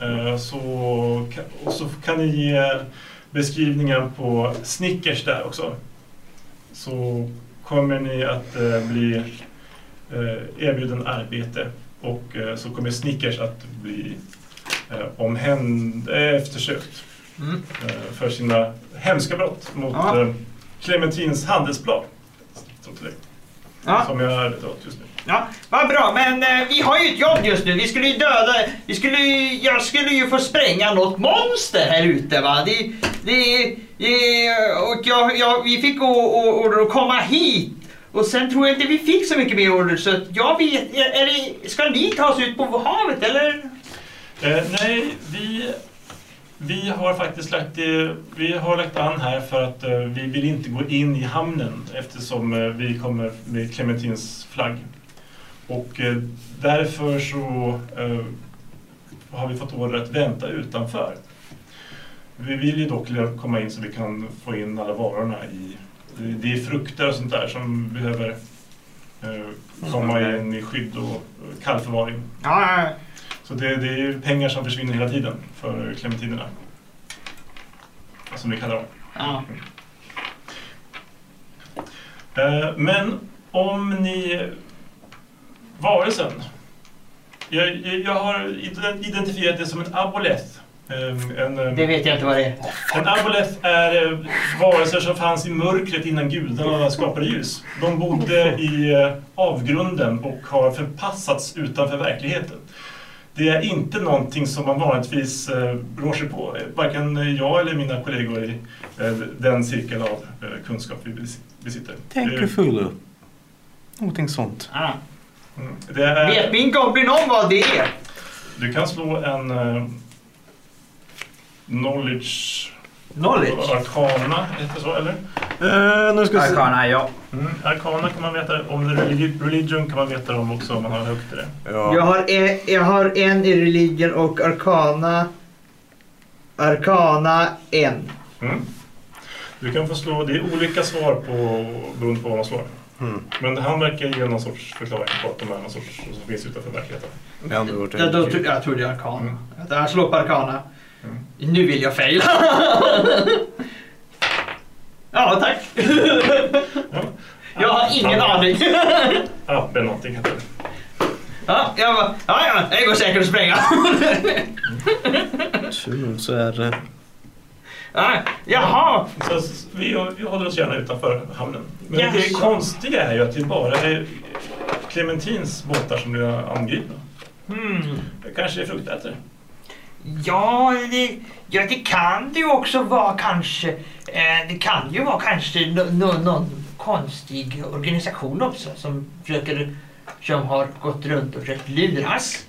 Speaker 2: Eh, Så, ka- och så kan ni ge er beskrivningar på Snickers där också. Så kommer ni att eh, bli eh, erbjuden arbete och eh, så kommer Snickers att bli eh, omhänd, eh, eftersökt
Speaker 3: Mm.
Speaker 2: eh, för sina hemska brott mot
Speaker 3: Ja.
Speaker 2: eh, Clementins handelsblad. Så till det,
Speaker 3: Ja,
Speaker 2: Som jag arbetar åt just nu.
Speaker 3: ja, vad bra, men eh, vi har ju ett jobb just nu. Vi skulle ju döda, vi skulle ju, jag skulle ju få spränga något monster här ute va. Det, det, det, och jag, jag, vi fick o- o- order att komma hit. Och sen tror jag inte vi fick så mycket mer order så att jag vet, är det, ska ni ta oss ut på havet eller?
Speaker 2: Eh, nej, vi, vi har faktiskt lagt, eh, vi har lagt an här för att eh, vi vill inte gå in i hamnen eftersom eh, vi kommer med Clementins flagg. Och eh, därför så eh, har vi fått order att vänta utanför. Vi vill ju dock komma in så vi kan få in alla varorna i... Det är frukter och sånt där som behöver eh, komma in i skydd och eh, kallförvaring.
Speaker 3: Ja,
Speaker 2: Så det, det är ju pengar som försvinner hela tiden för clementinerna. Som vi kallar dem.
Speaker 3: ja.
Speaker 2: Eh, Men om ni... Varelsen. Jag, jag, jag har ident- identifierat det som en aboleth. Eh, En, eh,
Speaker 3: det vet jag inte vad det är.
Speaker 2: en aboleth är eh, varelser som fanns i mörkret innan gudarna skapade ljus. De bodde i eh, avgrunden och har förpassats utanför verkligheten. Det är inte någonting som man vanligtvis eh, rår sig på. Eh, Varken jag eller mina kollegor i eh, den cirkel av eh, kunskap vi bes- besitter.
Speaker 1: Tänk
Speaker 2: Det-
Speaker 1: er Fulu. Någonting sånt.
Speaker 3: Ja.
Speaker 2: mm, det är-
Speaker 3: Vet min goblin om vad det är?
Speaker 2: Du kan slå en eh, knowledge...
Speaker 3: Knowledge.
Speaker 2: Arkana, heter det så eller?
Speaker 4: Eh, nu ska vi se.
Speaker 6: Arkana, ja.
Speaker 2: Mm. Arkana kan man veta om, det är religi- religion kan man veta om också om man har högt i det.
Speaker 3: Jag
Speaker 4: Ja.
Speaker 3: har, en, jag har en i religion och arkana. Arkana en.
Speaker 2: Mm. Du kan få slå, det är olika svar på, beroende på vad man slår.
Speaker 4: Mm.
Speaker 2: Men han verkar ge någon sorts förklaring på att de är någon sorts, som finns utanför verkligheten.
Speaker 4: Med andra ord.
Speaker 3: Jag, då, tro- jag tror det är arkana.
Speaker 2: Mm.
Speaker 3: Jag slår på arkana.
Speaker 2: Mm.
Speaker 3: Nu vill jag fejla. ja, tack. jag har ingen aning.
Speaker 2: Abbe Ah, någonting heter det.
Speaker 3: ja, jag bara, ja, ja, det går säkert att spränga.
Speaker 4: Tur Mm, så är eh, det...
Speaker 3: ja, jaha.
Speaker 2: Så s- vi, vi håller oss gärna utanför hamnen. Men det
Speaker 3: Jaså.
Speaker 2: konstiga är ju att det bara är Clementins båtar som blir angripna.
Speaker 3: Hmm.
Speaker 2: Det kanske är fruktätare.
Speaker 3: Ja det, ja, det kan det ju också vara kanske. Eh, det kan ju vara kanske no, no, någon konstig organisation också som försöker, som har gått runt och försökt luras.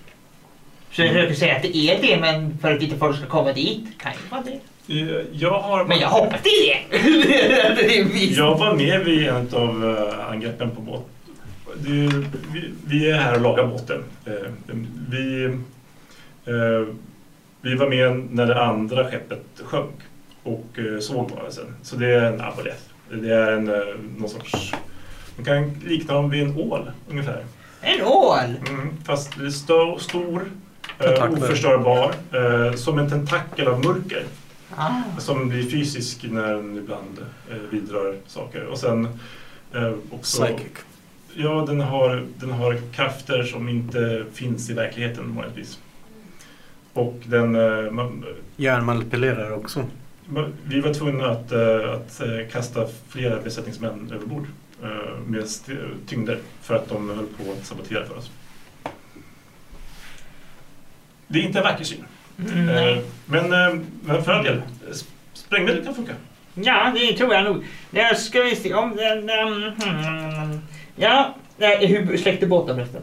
Speaker 3: Så jag försöker säga att det är det, men för att inte folk ska komma dit kan ju vara det.
Speaker 2: Eh, Jag har...
Speaker 3: Men jag hoppas det är det. det. är visst.
Speaker 2: Jag var med vid en av eh, angreppen på båt. Det är ju- vi, vi är här och lagar båten. Eh, Vi, eh, vi var med när det andra skeppet sjönk och eh, såg varelsen. Så det är en aboleth. Det är en, eh, någon sorts... Man kan likna dem vid en ål ungefär.
Speaker 3: En ål!
Speaker 2: Mm, fast det är stor, stor eh,
Speaker 4: Tentakel.
Speaker 2: oförstörbar, eh, som en tentakel av mörker. Som blir fysisk när den ibland eh, vidrör saker. Och sen eh, också...
Speaker 4: Psychic.
Speaker 2: Ja, den har, den har krafter som inte finns i verkligheten vanligtvis. Och den... eh, Man,
Speaker 4: Hjärnmanipulerar också.
Speaker 2: man, vi var tvungna att, eh, att eh, kasta flera besättningsmän överbord eh, med st- tyngder för att de höll på att sabotera för oss. Det är inte en vacker syn.
Speaker 3: Mm.
Speaker 2: Eh, Men, eh, men för all del, eh, sp- sprängmedel kan funka.
Speaker 3: Ja, det tror jag nog. Nu ska vi se om den... ehm, hmm. ja, nej, hur släckte båten förresten?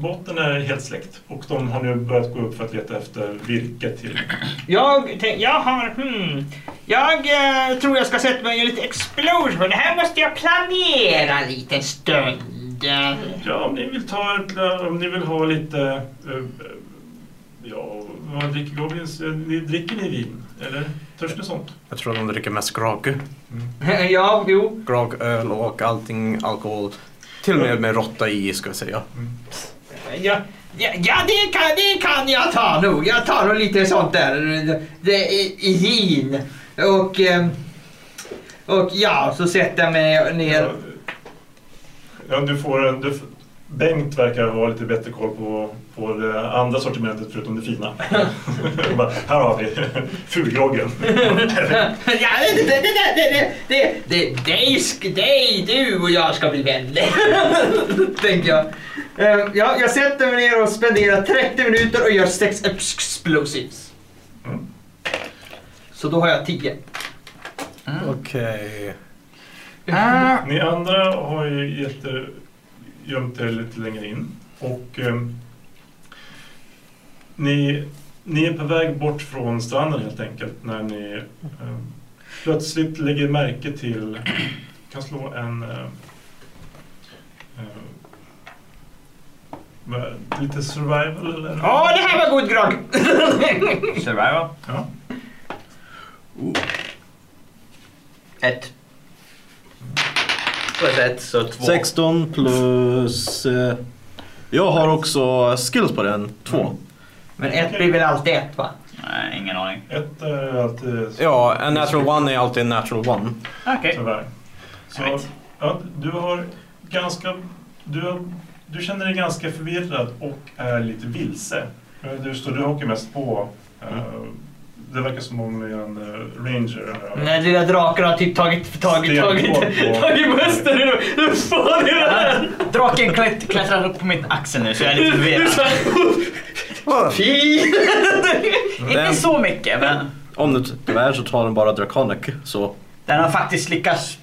Speaker 2: Båten är helt släckt och de har nu börjat gå upp för att leta efter virke till...
Speaker 3: Jag tänk, jag har... Hmm, jag eh, tror jag ska sätta mig och göra lite explosion. Det här måste jag planera en liten stund.
Speaker 2: Ja, om ni vill ta ett- eh, om ni vill ha lite... eh, Ja, vad dricker goblins? Eh, ni- Dricker ni vin? Eller törs ni sånt?
Speaker 4: Jag tror de dricker mest grog.
Speaker 3: ja, jo.
Speaker 4: Grog, öl och allting alkohol. Till och med med råtta i ska jag säga.
Speaker 3: Ja, ja, ja det, kan, det kan jag ta nog. Jag tar nog lite sånt där. Det, i, i gin. Och... ehm, och ja, så sätter jag mig ner.
Speaker 2: Ja, du får en... Du, Bengt verkar ha lite bättre koll på, på det andra sortimentet förutom det fina. Bara, här har vi fulgroggen.
Speaker 3: Ja, det, det, det, det, det, det, dig, sk- dig, du och jag ska bli vänner. Tänker jag. Eh, Ja, jag sätter mig ner och spenderar 30 minuter och gör sex explosives.
Speaker 2: Mm.
Speaker 3: Så då har jag 10.
Speaker 4: Mm. Okej.
Speaker 2: Ni andra har ju gett er, gömt er lite längre in. Och eh, ni, ni är på väg bort från stranden helt enkelt när ni eh, plötsligt lägger märke till, kan slå en eh, eh, vad- lite survival eller?
Speaker 3: Ja, det här var god grogg.
Speaker 6: Survival.
Speaker 2: Ja.
Speaker 6: Ett. Plus ett, så två.
Speaker 4: 16 plus... eh, jag har också skills på den. Två.
Speaker 3: Men ett blir väl alltid ett va?
Speaker 6: Nej, ingen aning.
Speaker 2: Ett är alltid
Speaker 4: Ja, en natural one är alltid en natural one.
Speaker 6: Okej.
Speaker 2: tyvärr. Så,
Speaker 6: Right.
Speaker 2: ja, du har ganska... Du, har- du känner dig ganska förvirrad och är lite vilse. Eh, Du står du hakar mest på... eh, Det verkar som om ni är en eh, ranger.
Speaker 3: Den där lilla draken har typ tagit, tagit, tagit,
Speaker 2: Stenkoll på-
Speaker 3: tagit musten ur ur fan i det här.
Speaker 6: Draken klätt, klättrar upp på min axel nu så jag är lite förvirrad.
Speaker 3: Fy!
Speaker 6: Inte så mycket, men
Speaker 4: Om det tyvärr så tar den bara Draconic. Så
Speaker 6: den har faktiskt lyckats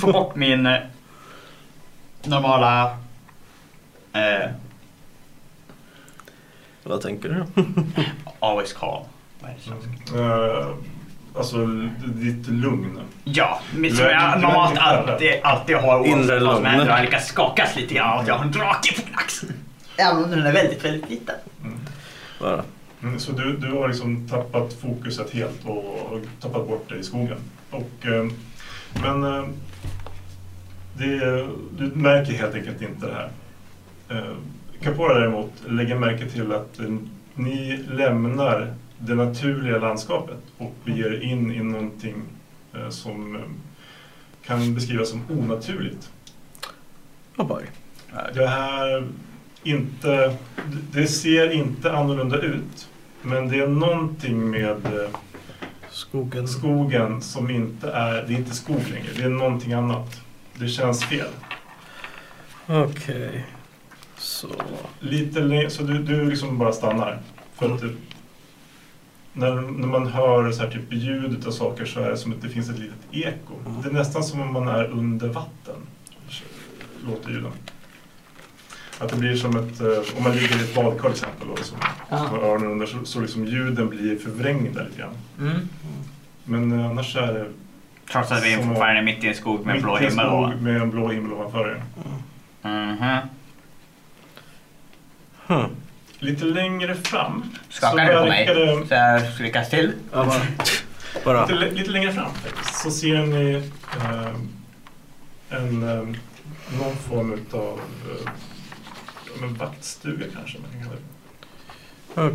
Speaker 6: få bort min eh, normala... Eh,
Speaker 4: vad tänker du?
Speaker 6: always calm. Vad är det som-
Speaker 2: Eh, Alltså l- ditt lugn.
Speaker 6: Ja, men som
Speaker 2: Du är-
Speaker 6: jag
Speaker 2: du är
Speaker 6: normalt
Speaker 2: inte skärrad.
Speaker 6: alltid, alltid har
Speaker 4: Inre
Speaker 6: oavsett vad som
Speaker 4: lugn.
Speaker 6: händer. Jag har lyckats skakas lite grann av att jag har en drake på min axel. Även om den är väldigt, väldigt liten.
Speaker 4: Bara.
Speaker 2: Mm, Så du, du har liksom tappat fokuset helt och, och tappat bort dig i skogen. Och, eh, men eh, det, du märker helt enkelt inte det här. Eh, Capora däremot lägger märke till att eh, ni lämnar det naturliga landskapet och beger er in i någonting eh, som eh, kan beskrivas som onaturligt.
Speaker 4: Oh boy.
Speaker 2: Det här inte, det ser inte annorlunda ut. Men det är någonting med eh,
Speaker 4: Skogen.
Speaker 2: skogen som inte är, det är inte skog längre. Det är någonting annat. Det känns fel.
Speaker 4: Okej. Så.
Speaker 2: Lite lä- så du, du liksom bara stannar. För
Speaker 6: Mm.
Speaker 2: att du, när, när man hör så här typ ljud av saker så är det som att det finns ett litet eko. Det är nästan som om man är under vatten. Låter ljuden. Att det blir som ett, eh, om man ligger i ett badkar till exempel och liksom, har öronen under så, så liksom ljuden blir förvrängda lite grann.
Speaker 3: Mm.
Speaker 2: Men eh, annars är det
Speaker 6: Trots att vi
Speaker 2: Som-
Speaker 6: fortfarande är mitt i en skog med en
Speaker 2: mitt
Speaker 6: blå
Speaker 2: i en
Speaker 6: himmel.
Speaker 2: skog
Speaker 6: och-
Speaker 2: med en blå himmel ovanför er.
Speaker 6: Mhm.
Speaker 4: Huh.
Speaker 2: Lite längre fram
Speaker 6: Skakar du på mig?
Speaker 2: verkar det-
Speaker 6: Så jag lyckas till.
Speaker 4: Ja, bara. bara.
Speaker 2: Lite, lite längre fram faktiskt, så ser ni ehm, eh, en, eh, någon form av eh, Som en vaktstuga kanske man kan kalla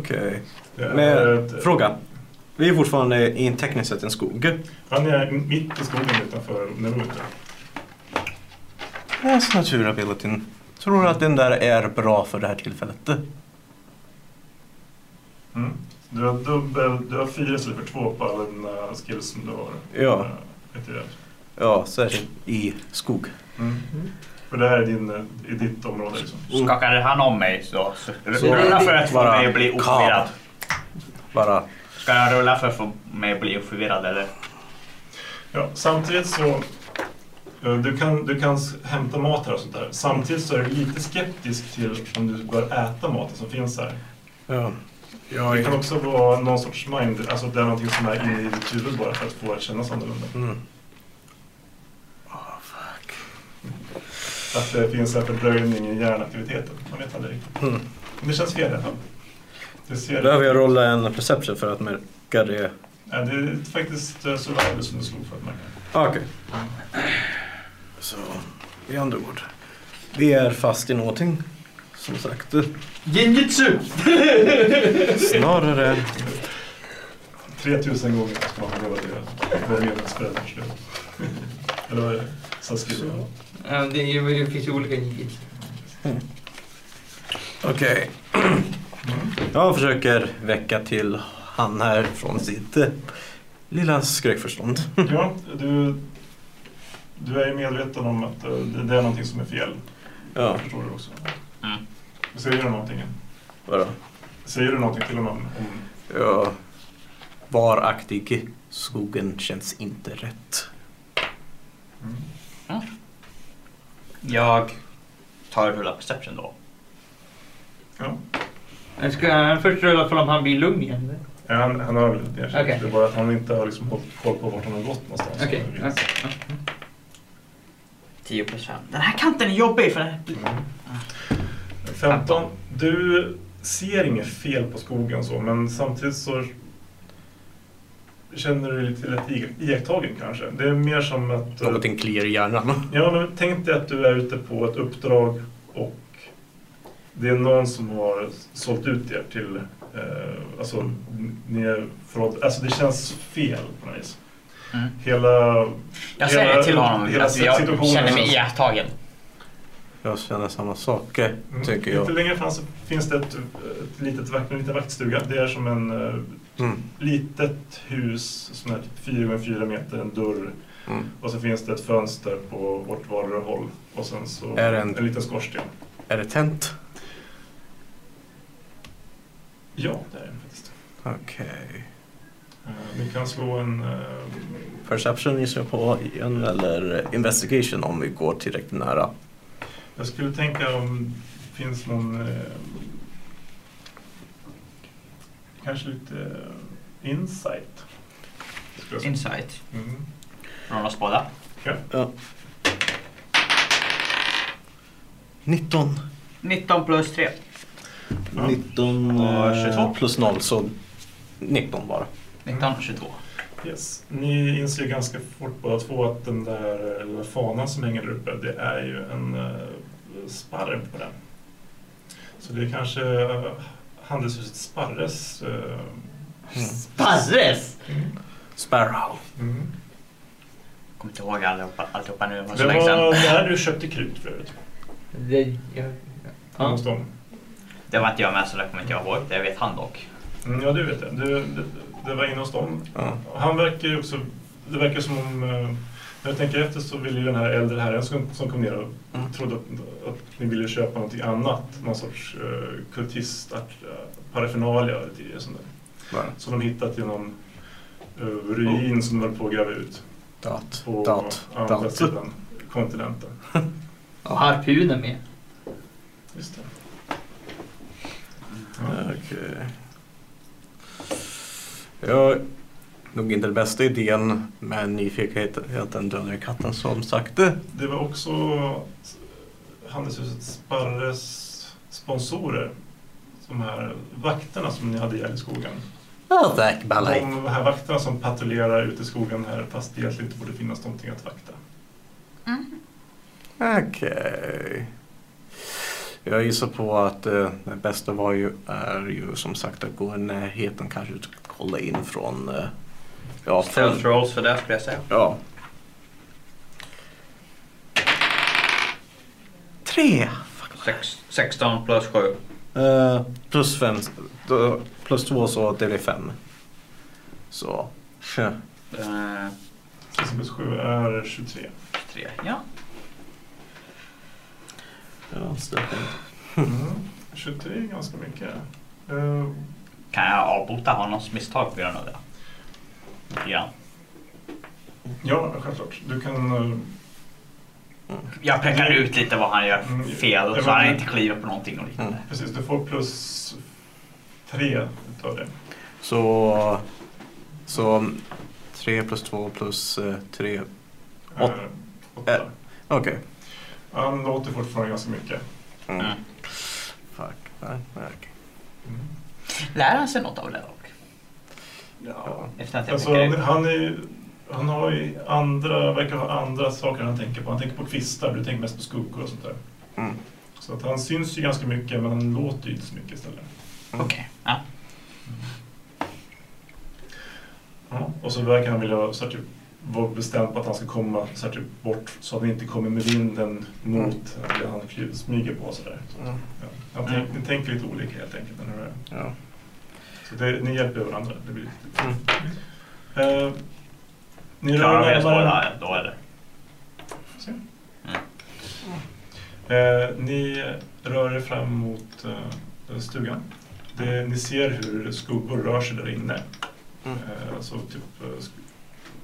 Speaker 2: det.
Speaker 4: Okej.
Speaker 2: det. är
Speaker 4: Men
Speaker 2: ett-
Speaker 4: Fråga. Vi är fortfarande i en tekniskt sett en skog.
Speaker 2: Han är mitt i skogen utanför Nerut.
Speaker 4: Läs naturabilityn. Tror du att den där är bra för det här tillfället?
Speaker 2: Mm. Du har, dubbel, du har fyra istället för två på alla dina skills som du har.
Speaker 4: Ja.
Speaker 2: eh, ett i det.
Speaker 4: Ja, särskilt i skog.
Speaker 2: Mm. För det här är din, eh, i ditt område liksom.
Speaker 6: Skakade han om mig så, så
Speaker 4: Så-
Speaker 6: rulla för att få
Speaker 4: Bara-
Speaker 6: mig att bli oförvirrad.
Speaker 4: Bara
Speaker 6: Ska jag rulla för att få mig att bli oförvirrad eller?
Speaker 2: Ja, samtidigt så... eh, Du kan, du kan s- hämta mat här och sånt där. Samtidigt så är du lite skeptisk till om du bör äta maten som finns här.
Speaker 4: Ja.
Speaker 2: Det kan
Speaker 4: Jag,
Speaker 2: också vara någon sorts mind, alltså det är någonting som är inne i ditt huvud bara för att få det att kännas annorlunda.
Speaker 4: mm.
Speaker 2: Att det finns en fördröjning i hjärnaktiviteten. Man vet aldrig riktigt.
Speaker 4: Mm.
Speaker 2: Men det känns fel i alla fall. Du ser
Speaker 4: Behöver jag rolla en perception för att märka det?
Speaker 2: Ja, det är faktiskt eh, survival som du slog för att märka.
Speaker 4: Ah, Okej. Så, i andra ord. Vi är fast i någonting. Som sagt.
Speaker 3: Genjutsu!
Speaker 4: Snarare.
Speaker 2: 3000 gånger ska man ha lovat det. Vad är det spel för slut? Eller vad är det? Saskis?
Speaker 3: Ja, det, är ju- det finns ju olika genjutsu.
Speaker 4: Okej.
Speaker 2: Mm.
Speaker 4: Jag försöker väcka till han här från sitt eh, lilla skräckförstånd.
Speaker 2: Ja, du, du är ju medveten om att eh, det, det är någonting som är fel.
Speaker 4: Ja,
Speaker 2: Förstår du också?
Speaker 6: Mm.
Speaker 2: Säger du någonting?
Speaker 4: vadå?
Speaker 2: Säger du någonting till honom? Om,
Speaker 3: Mm.
Speaker 4: Ja. Varaktig. Skogen känns inte rätt.
Speaker 2: mm.
Speaker 6: Jag tar och rullar perception då.
Speaker 2: ja.
Speaker 3: Jag ska han först rulla för om han blir lugn igen.
Speaker 2: Ja, han, han har väl ett erkännande.
Speaker 3: Okej.
Speaker 2: Det är bara att han inte har liksom hållit koll på vart han har gått någonstans. Mm.
Speaker 3: Okej,
Speaker 2: Så det är-
Speaker 6: 10 plus 5. Den här kanten är jobbig för den här...
Speaker 2: Mm. 15. Du ser inget fel på skogen så, men samtidigt så känner du dig lite lätt iak- iakttagen kanske. Det är mer som att... eh,
Speaker 4: Någonting kliar i hjärnan.
Speaker 2: Ja, men tänk dig att du är ute på ett uppdrag och det är någon som har sålt ut er till... Eh, alltså, ni är förrådd. Alltså det känns fel på något vis.
Speaker 6: Mm.
Speaker 2: Hela...
Speaker 6: Jag säger
Speaker 2: hela-
Speaker 6: till honom
Speaker 2: hela
Speaker 6: att jag
Speaker 2: situationen
Speaker 6: känner mig
Speaker 2: känns-
Speaker 6: iakttagen.
Speaker 4: Jag känner samma sak, eh,
Speaker 2: Mm.
Speaker 4: tycker
Speaker 2: Lite
Speaker 4: jag.
Speaker 2: längre fram så finns det ett, ett litet vakt, en liten vaktstuga. Det är som en eh,
Speaker 4: Mm.
Speaker 2: litet hus som är typ 4 gånger 4 meter, en dörr.
Speaker 4: Mm.
Speaker 2: Och så finns det ett fönster på vårt vardera håll. Och sen så
Speaker 4: Är det en-
Speaker 2: liten skorsten.
Speaker 4: Är det tänt?
Speaker 2: Ja, det är det faktiskt.
Speaker 4: Okej.
Speaker 2: Eh, Ni kan slå en... eh,
Speaker 4: Perception gissar jag på igen, eller investigation om vi går tillräckligt nära.
Speaker 2: jag skulle tänka om det finns någon... eh, kanske lite eh, insight. Skulle jag säga.
Speaker 6: Insight.
Speaker 2: Mm.
Speaker 6: Från oss båda.
Speaker 4: Ja. 19.
Speaker 6: 19 plus 3.
Speaker 2: Ja.
Speaker 4: 19
Speaker 6: Ja,
Speaker 4: eh,
Speaker 6: 22.
Speaker 4: plus 0 så 19 bara.
Speaker 6: 19 22.
Speaker 2: Yes. Ni inser ju ganska fort båda två att den där eh, lilla fanan som hänger där uppe, det är ju en eh, sparv på den. Så det är kanske eh, handelshuset Sparres. eh,
Speaker 4: Mm.
Speaker 3: Sparres!
Speaker 4: Sparrow.
Speaker 2: Mm.
Speaker 6: Kommer inte ihåg allihopa, alltihopa nu, det var så
Speaker 2: Det
Speaker 6: länge
Speaker 2: var
Speaker 6: sedan.
Speaker 2: där du köpte krut förut.
Speaker 3: Det, jag, ja.
Speaker 2: Hos dem.
Speaker 6: Det var inte jag med så det kommer inte jag ihåg. Det vet han dock.
Speaker 2: Mm, ja, du vet det. Du, det. Det var inne hos dem.
Speaker 4: Ja.
Speaker 2: Han verkar ju också... Det verkar som om... eh, När jag tänker efter så ville ju den här äldre herren som, som kom ner och
Speaker 4: Mm.
Speaker 2: trodde att, att ni ville köpa någonting annat. Någon sorts uh, kultist, art- eh, paraphernalia och lite grejer sånt där.
Speaker 4: Bara.
Speaker 2: Som de hittat i någon eh, ruin som de höll på att gräva ut.
Speaker 4: Dat.
Speaker 2: På
Speaker 4: Dat.
Speaker 2: andra
Speaker 4: Dat.
Speaker 2: sidan kontinenten.
Speaker 3: Och harpunen med.
Speaker 2: Just det.
Speaker 4: Okej. Ja, nog inte den bästa idén, men nyfikenheten dödar ju katten som sagt.
Speaker 2: Det var också handelshuset Sparres sponsorer. De här vakterna som ni hade ihjäl i skogen.
Speaker 4: Ja, tack Balaj.
Speaker 2: De här vakterna som patrullerar ute i skogen här fast det egentligen inte borde finnas någonting att vakta.
Speaker 4: Okej. Ja, Jag gissar på att eh, det bästa var ju, är ju som sagt att gå i närheten kanske ut och kolla in från... Eh, ja, från,
Speaker 9: Stealth rolls för det skulle jag säga.
Speaker 4: ja. Tre!
Speaker 9: Sex, 16 plus 7.
Speaker 4: Eh, plus fem, då- plus två så det blir fem. Så, tja.
Speaker 9: Eh,
Speaker 2: 6 plus 7 är 23.
Speaker 9: 3. Ja.
Speaker 4: Ja, stökigt.
Speaker 2: Mm. 23 är ganska mycket. Eh,
Speaker 6: Kan jag avbota hans misstag på grund av det? Ja.
Speaker 2: ja, självklart. Du kan... eh,
Speaker 6: Jag pekar ut lite vad han gör
Speaker 2: Mm.
Speaker 6: fel så han inte kliver på någonting och liknande.
Speaker 2: Precis, du får plus 3 utav det.
Speaker 4: Så, så tre plus två plus eh, tre. Åt-
Speaker 2: Eh, åtta.
Speaker 4: Eh. Okej.
Speaker 2: Han låter fortfarande ganska mycket.
Speaker 4: Mm.
Speaker 6: Mm.
Speaker 4: Fuck. Nej, nej, okej.
Speaker 2: Mm.
Speaker 9: Lär han sig något av det dock?
Speaker 4: Ja.
Speaker 9: Efter att jag
Speaker 2: Alltså,
Speaker 9: pekar
Speaker 2: han,
Speaker 9: ut.
Speaker 2: han, är, han har ju andra, verkar ha andra saker han tänker på. Han tänker på kvistar, du tänker mest på skuggor och sånt där.
Speaker 4: Mm.
Speaker 2: Så att han syns ju ganska mycket, men han låter ju inte så mycket istället.
Speaker 6: Okej. Ja.
Speaker 4: Mm.
Speaker 2: Ja. Och så verkar han vilja så här, typ, vara bestämd på att han ska komma så här, typ, bort så att han inte kommer med vinden mot det han kly- smyger på. Så där.
Speaker 4: Mm.
Speaker 2: Ja. Han tänk, Ni tänker lite olika helt enkelt. när ni är-
Speaker 4: Ja.
Speaker 2: Så det, ni hjälper varandra. Det blir lite...
Speaker 4: Mm.
Speaker 2: Eh, ni
Speaker 6: Klarar vi oss
Speaker 2: närmare-
Speaker 6: båda då eller?
Speaker 2: Se. Eh, ni rör er fram mot eh, stugan. Det, ni ser hur skuggor rör sig där inne.
Speaker 4: Mm.
Speaker 2: Eh, så typ, eh, sk-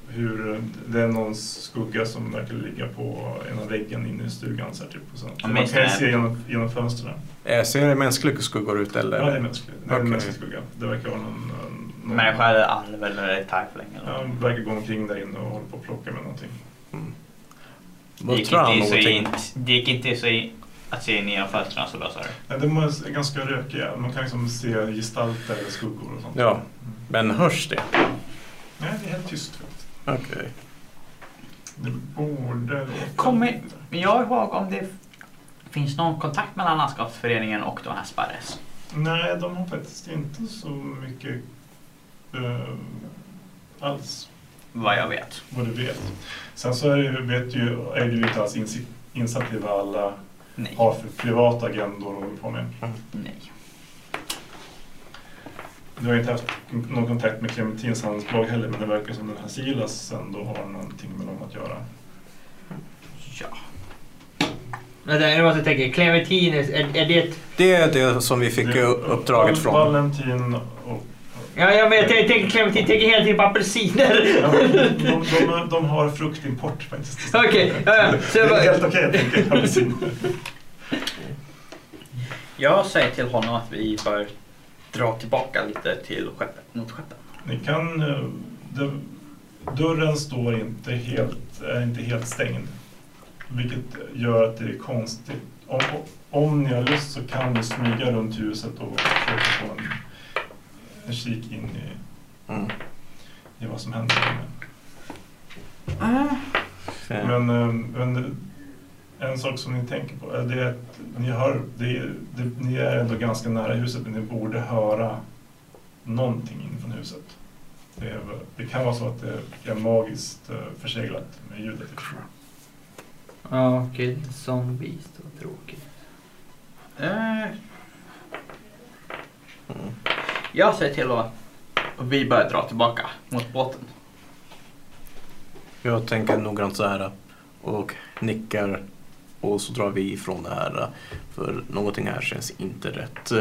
Speaker 2: hur eh, det är någons skugga som verkar ligga på ena väggen inne i stugan. Så här, typ, och så. Så
Speaker 6: Ja,
Speaker 2: man
Speaker 6: minst
Speaker 2: kan ju
Speaker 6: det här.
Speaker 2: se genom, genom fönstren.
Speaker 4: Eh, ser det mänskliga skuggor ut eller?
Speaker 2: Ja, det är mänsklig. Det är en
Speaker 4: Okej.
Speaker 2: mänsklig skugga. Det verkar vara någon... eh,
Speaker 4: Mm.
Speaker 2: någon
Speaker 6: Människa eller alv eller tiefling eller
Speaker 2: Ja,
Speaker 6: något.
Speaker 2: verkar gå omkring där inne och hålla på och plocka med någonting.
Speaker 4: Mm.
Speaker 6: Det gick
Speaker 4: Muttrar han
Speaker 6: inte så
Speaker 4: någonting?
Speaker 6: in- Det gick inte så in- att se in genom fönstren så löser det.
Speaker 2: Nej, de är ganska rökiga. Man kan liksom se gestalter eller skuggor och sånt. Mm.
Speaker 4: Ja, men hörs det?
Speaker 2: Nej, det är helt tyst faktiskt.
Speaker 4: Okej.
Speaker 2: Det borde låta...
Speaker 6: Kom i- Men jag ihåg om det finns någon kontakt mellan landskapsföreningen och de här Sparres.
Speaker 2: Nej, de har faktiskt inte så mycket eh, alls,
Speaker 6: Vad jag vet.
Speaker 2: vad du vet. Sen så är, det- vet ju, är du inte alls insi- insatt i vad alla
Speaker 6: Nej.
Speaker 2: har för privata agendor och håller på med.
Speaker 6: Nej.
Speaker 2: Du har inte haft någon kontakt med Clementins handelsbolag heller, men det verkar som den här Silas ändå har någonting med dem att göra.
Speaker 6: Ja.
Speaker 3: Vänta, jag måste tänka. Clementine, är, är det...
Speaker 4: Det är det som vi fick
Speaker 2: Det-
Speaker 4: eh, uppdraget från.
Speaker 2: Valentin och
Speaker 3: Ja, jag, men, jag tänker Clementine, tänker hela tiden på apelsiner.
Speaker 2: Ja, de, de, de har fruktimport faktiskt.
Speaker 3: Okej, ja, ja. Så
Speaker 2: Det
Speaker 3: jag
Speaker 2: är helt
Speaker 3: bara...
Speaker 2: okej, jag tänker. Apelsiner.
Speaker 9: Jag säger till honom att vi bör dra tillbaka lite till skeppet, mot skeppet.
Speaker 2: Ni kan... eh, det- Dörren står inte helt, är inte helt stängd. Vilket gör att det är konstigt. Om, om ni har lust så kan ni smyga runt huset och försöka få en, en kik in i,
Speaker 4: Mm.
Speaker 2: i vad som händer. där inne.
Speaker 6: Ah.
Speaker 4: Eh,
Speaker 2: Men, eh, men en sak som ni tänker på är det att ni, hör, det, det, ni är ändå ganska nära huset men ni borde höra någonting inifrån huset. Det, är, väl- det kan vara så att det är magiskt eh, förseglat med ljudet.
Speaker 3: Ja, okej. Zombies, vad tråkigt.
Speaker 9: Eh. Jag säger till honom att vi bör dra tillbaka mot båten.
Speaker 4: Jag tänker noggrant så här eh, och nickar och så drar vi ifrån det här eh, för någonting här känns inte rätt.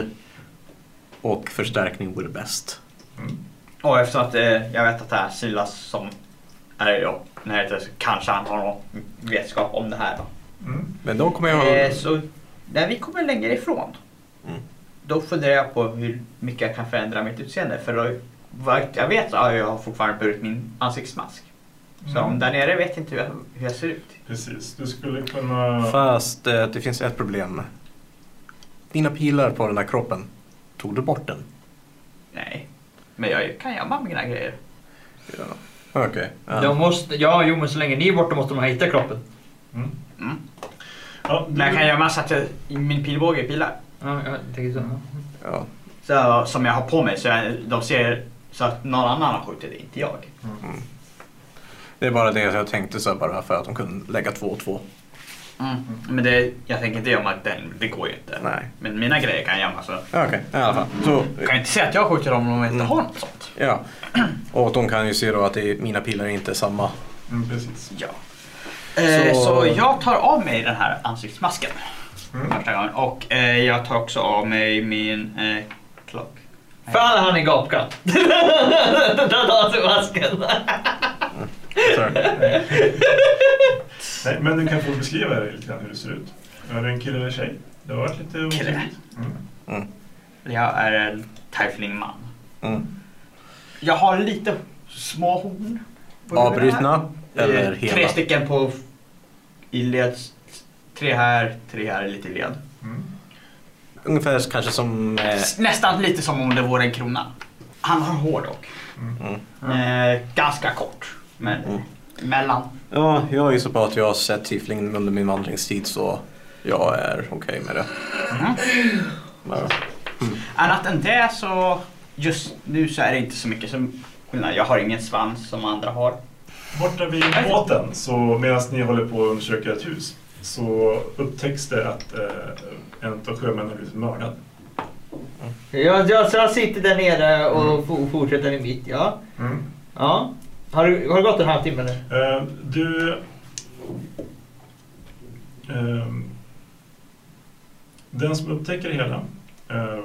Speaker 4: Och förstärkning vore bäst.
Speaker 2: Mm.
Speaker 6: Och eftersom att eh, jag vet att det här Silas som är i närheten så kanske han har någon vetskap om det här. Då.
Speaker 2: Mm.
Speaker 4: Men då kommer
Speaker 9: Eh,
Speaker 4: jag...
Speaker 9: så när vi kommer längre ifrån
Speaker 4: Mm.
Speaker 9: då funderar jag på hur mycket jag kan förändra mitt utseende. För då, vad jag vet så har jag fortfarande burit min ansiktsmask. Så
Speaker 2: Mm.
Speaker 9: om där nere vet inte hur jag, hur jag ser ut.
Speaker 2: Precis, du skulle kunna...
Speaker 4: Fast eh, det finns ett problem. Dina pilar på den här kroppen, tog du bort den?
Speaker 9: Nej, men jag kan gömma mina grejer.
Speaker 4: Ja. Okej. Ja.
Speaker 3: De måste... Ja, jo, men så länge ni är borta måste de hitta kroppen.
Speaker 2: Mm.
Speaker 9: Mm.
Speaker 2: Ja, du,
Speaker 6: Men jag kan göra massa till min pilbåge i pilar.
Speaker 3: Ja, jag tänker så.
Speaker 4: Ja.
Speaker 6: Så, som jag har på mig så jag, de ser så att någon annan har skjutit, inte jag.
Speaker 4: Det är bara det att jag tänkte så här bara för att de kunde lägga två och två.
Speaker 6: Mm. Men det, jag tänker inte gömma den, det går ju inte.
Speaker 4: Nej.
Speaker 6: Men mina grejer kan jag gömma så.
Speaker 4: Ja, Okej, i alla fall. Så,
Speaker 6: Jag kan inte säga att jag skjuter dem om jag inte har något sånt.
Speaker 4: ja. Och de kan ju se då att det är, mina pilar är inte är samma.
Speaker 2: mm, precis.
Speaker 6: Ja. Eh,
Speaker 4: Så-
Speaker 6: så... jag tar av mig den här ansiktsmasken. Första gången. Och eh, jag tar också av mig min eh, klock.
Speaker 3: Fan, han är gapkatt. Där tar han sig masken.
Speaker 4: Så,
Speaker 2: Nej, men du kan få beskriva det lite grann hur det ser ut. Är det en kille eller tjej? Det har varit lite otydligt.
Speaker 6: Kille.
Speaker 2: Mm.
Speaker 6: Jag är en tieflingman.
Speaker 4: mm.
Speaker 6: Jag har lite små horn. på huvudet.
Speaker 4: Avbrutna eller
Speaker 6: Eh, Tre
Speaker 4: hela?
Speaker 6: stycken på i led. Tre här, tre här, lite i led.
Speaker 2: Mm.
Speaker 4: Ungefär kanske som... Eh,
Speaker 6: S- Nästan lite som om det vore en krona. Han har hår dock.
Speaker 4: Mm.
Speaker 6: Eh, ganska kort. Men
Speaker 4: Mm.
Speaker 6: mellan.
Speaker 4: ja, jag gissar på att jag har sett tieflingen under min vandringstid så jag är okej med det. Ja.
Speaker 6: Annat än det så just nu så är det inte så mycket som skillnad. Jag har ingen svans som andra har.
Speaker 2: Borta vid båten, så medan ni håller på att undersöka ett hus, så upptäcks det att eh, en av sjömännen har blivit mördad.
Speaker 3: Jag, jag, så jag sitter där nere och fo- fortsätter i mitt, ja. ja. Har, du, har det gått en halvtimme nu?
Speaker 2: Eh, du... ehm, den som upptäcker det hela, eh,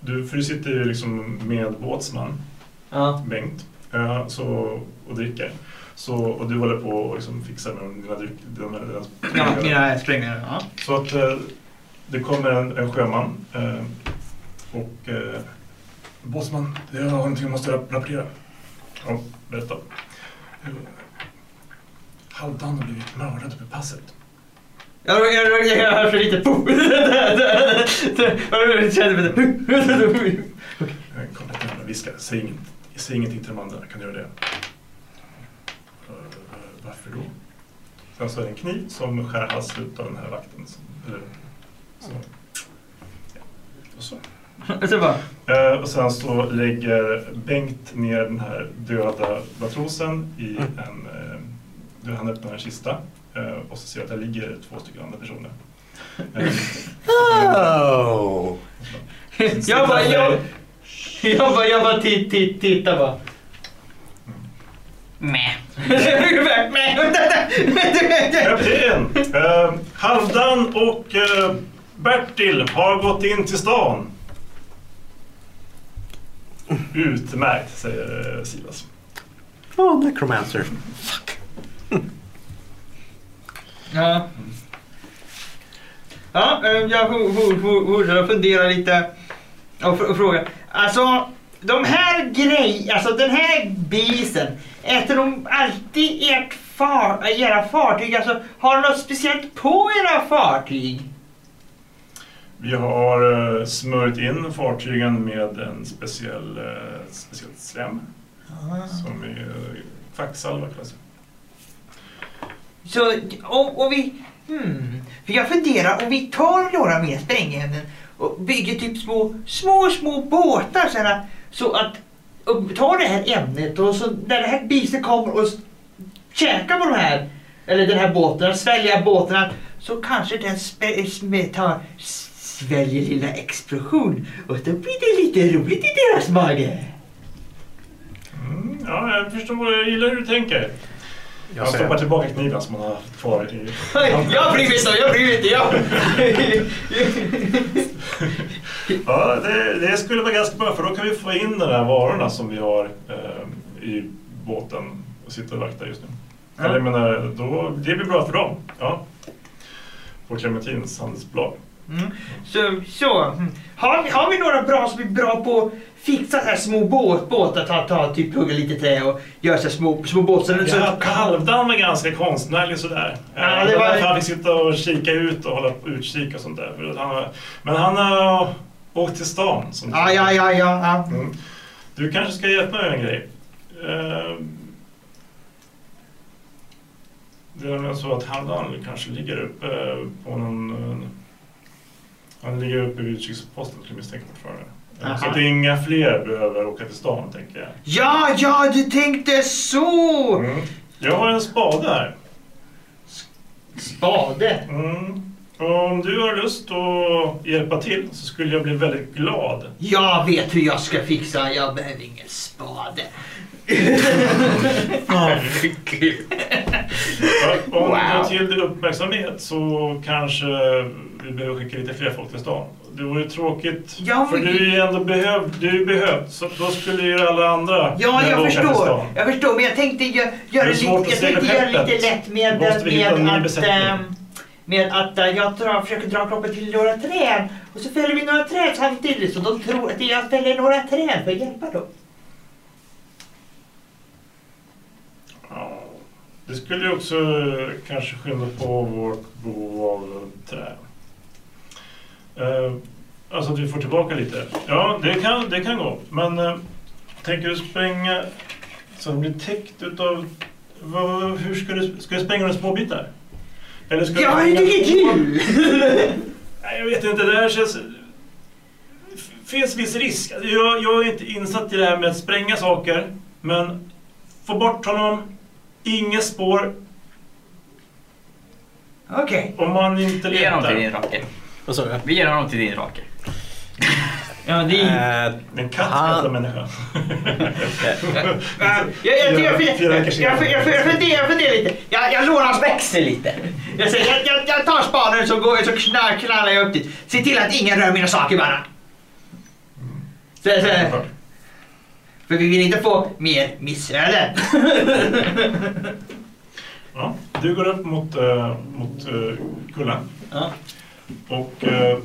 Speaker 2: du, för du sitter ju liksom med båtsman,
Speaker 3: Ja.
Speaker 2: Bengt eh, så, och dricker. Så, och du håller på och liksom fixar med dina dryck. Dina, dina,
Speaker 3: mina sprängningar. Ja.
Speaker 2: Så att eh, det kommer en, en sjöman eh, och eh, Båtsman, jag har någonting jag måste rapp- rapportera. Ja, berätta. Eh, Halvdan har blivit mördad uppe i passet.
Speaker 3: Jag, jag, jag, jag, jag hör så lite poff. Jag känner mig lite...
Speaker 2: Eh, Kom inte närmare, viska. Säg, inget, säg ingenting till de andra, kan du göra det? "Eh, Varför då? Sen så är det Alltså, en kniv som skär halsen av den här vakten. Som, eller, så. Ja. Och så.
Speaker 3: Och så bara...
Speaker 2: Eh, Och sen så lägger Bengt ner den här döda matrosen i en... eh, då Han öppnar en kista eh, och så ser jag att där ligger två stycken andra personer. Eh,
Speaker 4: Oh.
Speaker 3: Jag bara... Jag, jag bara, jag bara titt, titt, titta bara.
Speaker 6: Meh.
Speaker 2: Kapten! Eh, Halvdan och eh, Bertil har gått in till stan. Utmärkt, säger eh, Silas.
Speaker 4: Oh, necromancer.
Speaker 3: Ja. Ja, eh, jag for- for- for- fortsätter att fundera lite och, fr- och fråga. Alltså, de här grej, alltså den här bisen, äter de alltid ert far, era fartyg? Alltså, har de något speciellt på era fartyg?
Speaker 2: Vi har eh, smörjt in fartygen med en speciell, eh, speciell slem. Som är eh, kvacksalva kallas det.
Speaker 3: Så om, om vi... Hmm, för jag funderar om vi tar några mer sprängämnen och bygger typ små, små, små båtar så, här, så att... Och tar det här ämnet och så när det här bisen kommer och s- käkar på de här, eller den här båten, svälja båten så kanske den spä- sm- tar, sväljer lilla explosion och då blir det lite roligt i deras mage.
Speaker 2: Mm, ja, jag förstår. Jag gillar hur du tänker. Jag,
Speaker 4: Jag
Speaker 2: stoppar
Speaker 4: säger,
Speaker 2: tillbaka kniven som man har kvar i...
Speaker 3: Jag bryr mig inte, jag bryr mig inte, jag...
Speaker 2: Ja, det, det skulle vara ganska bra för då kan vi få in de här varorna som vi har eh, i båten och sitter och vaktar just nu. Eller jag menar, då, det blir bra för dem. Ja. På Clementins handelsbolag.
Speaker 3: Mm. Så, så. Mm. Har, vi- har vi några bra som är bra på att fixa så här små båt, båtar, ta, ta, typ hugga lite trä och göra så här små, små båtar? Så,
Speaker 2: Ja, typ Halvdan var ganska konstnärlig sådär.
Speaker 3: Ja,
Speaker 2: Eh,
Speaker 3: det var-
Speaker 2: därför Han fick sitta och kika ut och hålla på utkik och sånt där. För att han har- Men han har åkt till stan. Som
Speaker 3: ja, ja, ja, ja. ja.
Speaker 2: Mm. Du kanske Ehm, ska hjälpa mig med en grej. Eh, Det är nämligen så att Haldan kanske ligger uppe på någon... eh, Han ligger uppe vid utkiksposten skulle jag misstänka fortfarande. Eh, Så
Speaker 3: Aha.
Speaker 2: att det är inga fler behöver åka till stan tänker jag.
Speaker 3: Ja, ja, du tänkte så!
Speaker 2: Mm. Jag har en spade här.
Speaker 3: Spade.
Speaker 2: Mm. Om du har lust att hjälpa till så skulle jag bli väldigt glad.
Speaker 3: Jag vet hur jag ska fixa, jag behöver ingen spade.
Speaker 2: För Om du tar
Speaker 6: Wow.
Speaker 2: till dig uppmärksamhet så kanske vi behöver skicka lite fler folk till stan. Det vore ju tråkigt,
Speaker 3: Ja,
Speaker 2: för
Speaker 3: men-
Speaker 2: du är ju ändå behövd. Du är ju behövd, så då skulle ju alla andra
Speaker 3: Ja,
Speaker 2: behöva
Speaker 3: jag
Speaker 2: åka till
Speaker 3: förstår.
Speaker 2: stan.
Speaker 3: Jag förstår, men jag tänkte gö- göra
Speaker 2: Det är
Speaker 3: det lite,
Speaker 2: svårt att
Speaker 3: jag
Speaker 2: se
Speaker 3: tänkte göra det
Speaker 2: skeppet.
Speaker 3: lite lätt med,
Speaker 2: Måste vi hitta
Speaker 3: med,
Speaker 2: en ny
Speaker 3: att,
Speaker 2: besättning?
Speaker 3: ehm, med att eh, jag drar, försöker dra kroppen till några träd och så fäller vi några träd samtidigt så de tror att jag fäller några träd för att hjälpa dem.
Speaker 2: Ja. Det skulle ju också eh, kanske skynda på vårt behov av eh, trä. Eh, alltså att vi får tillbaka lite. Ja, det kan, det kan gå. Men eh, tänker du spränga så det blir täckt utav... Vad, hur ska du, ska du spränga några små bitar? Eller ska
Speaker 3: Jag har ju
Speaker 2: spränga-
Speaker 3: inget hjul!
Speaker 2: Nej, jag vet inte. Det här känns... f- finns viss risk. Alltså, Jag, jag är inte insatt i det här med att spränga saker, men få bort honom. Inget spår
Speaker 3: Okej.
Speaker 2: om man inte
Speaker 6: Vi ger honom till
Speaker 2: letar.
Speaker 6: din raker.
Speaker 4: Vad sa du?
Speaker 6: Vi ger honom till din raker.
Speaker 3: Ja, det
Speaker 4: Eh,
Speaker 2: En katt
Speaker 4: Ah.
Speaker 2: kastar människa.
Speaker 3: Ja, jag, jag, jag, jag,
Speaker 2: Liksom. Fyra- fyra veckor
Speaker 3: jag, jag,
Speaker 2: senare.
Speaker 3: jag, jag funderar, jag funderar lite. Jag, jag lånar hans växel lite. Jag, säger, jag, jag, jag tar spaden så, går, så knall, knallar jag upp dit. Se till att ingen rör mina saker bara. Så, så, för vi vill inte få mer missöden.
Speaker 2: Ja, du går upp mot, eh, mot eh, kullen
Speaker 3: Ja.
Speaker 2: och eh,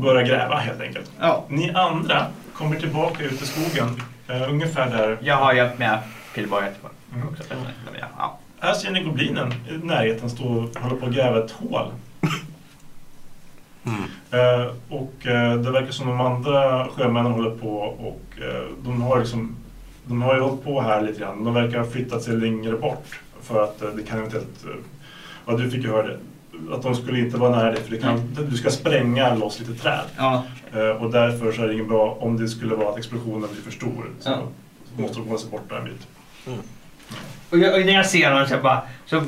Speaker 2: börjar gräva helt enkelt.
Speaker 3: Ja.
Speaker 2: Ni andra kommer tillbaka ut i skogen eh, ungefär där.
Speaker 6: Jag har hjälpt med Pillborg att
Speaker 2: Mm.
Speaker 6: också. Ja.
Speaker 2: Här ser ni goblinen i närheten stå och hålla på att gräva ett hål. Eh, och eh, det verkar som de andra sjömännen håller på och eh, de har liksom de har ju hållit på här lite grann. De verkar ha flyttat sig längre bort för att eh, det kan eventuellt, eh, ja du fick ju höra det, att de skulle inte vara nära dig för det kan, du ska spränga loss lite träd.
Speaker 3: Ja.
Speaker 2: Eh, och därför så är det inget bra om det skulle vara att explosionen blir för stor så,
Speaker 3: Ja.
Speaker 2: så måste de hålla sig borta en bit.
Speaker 3: Och, jag, och när jag ser honom så jag bara... Så,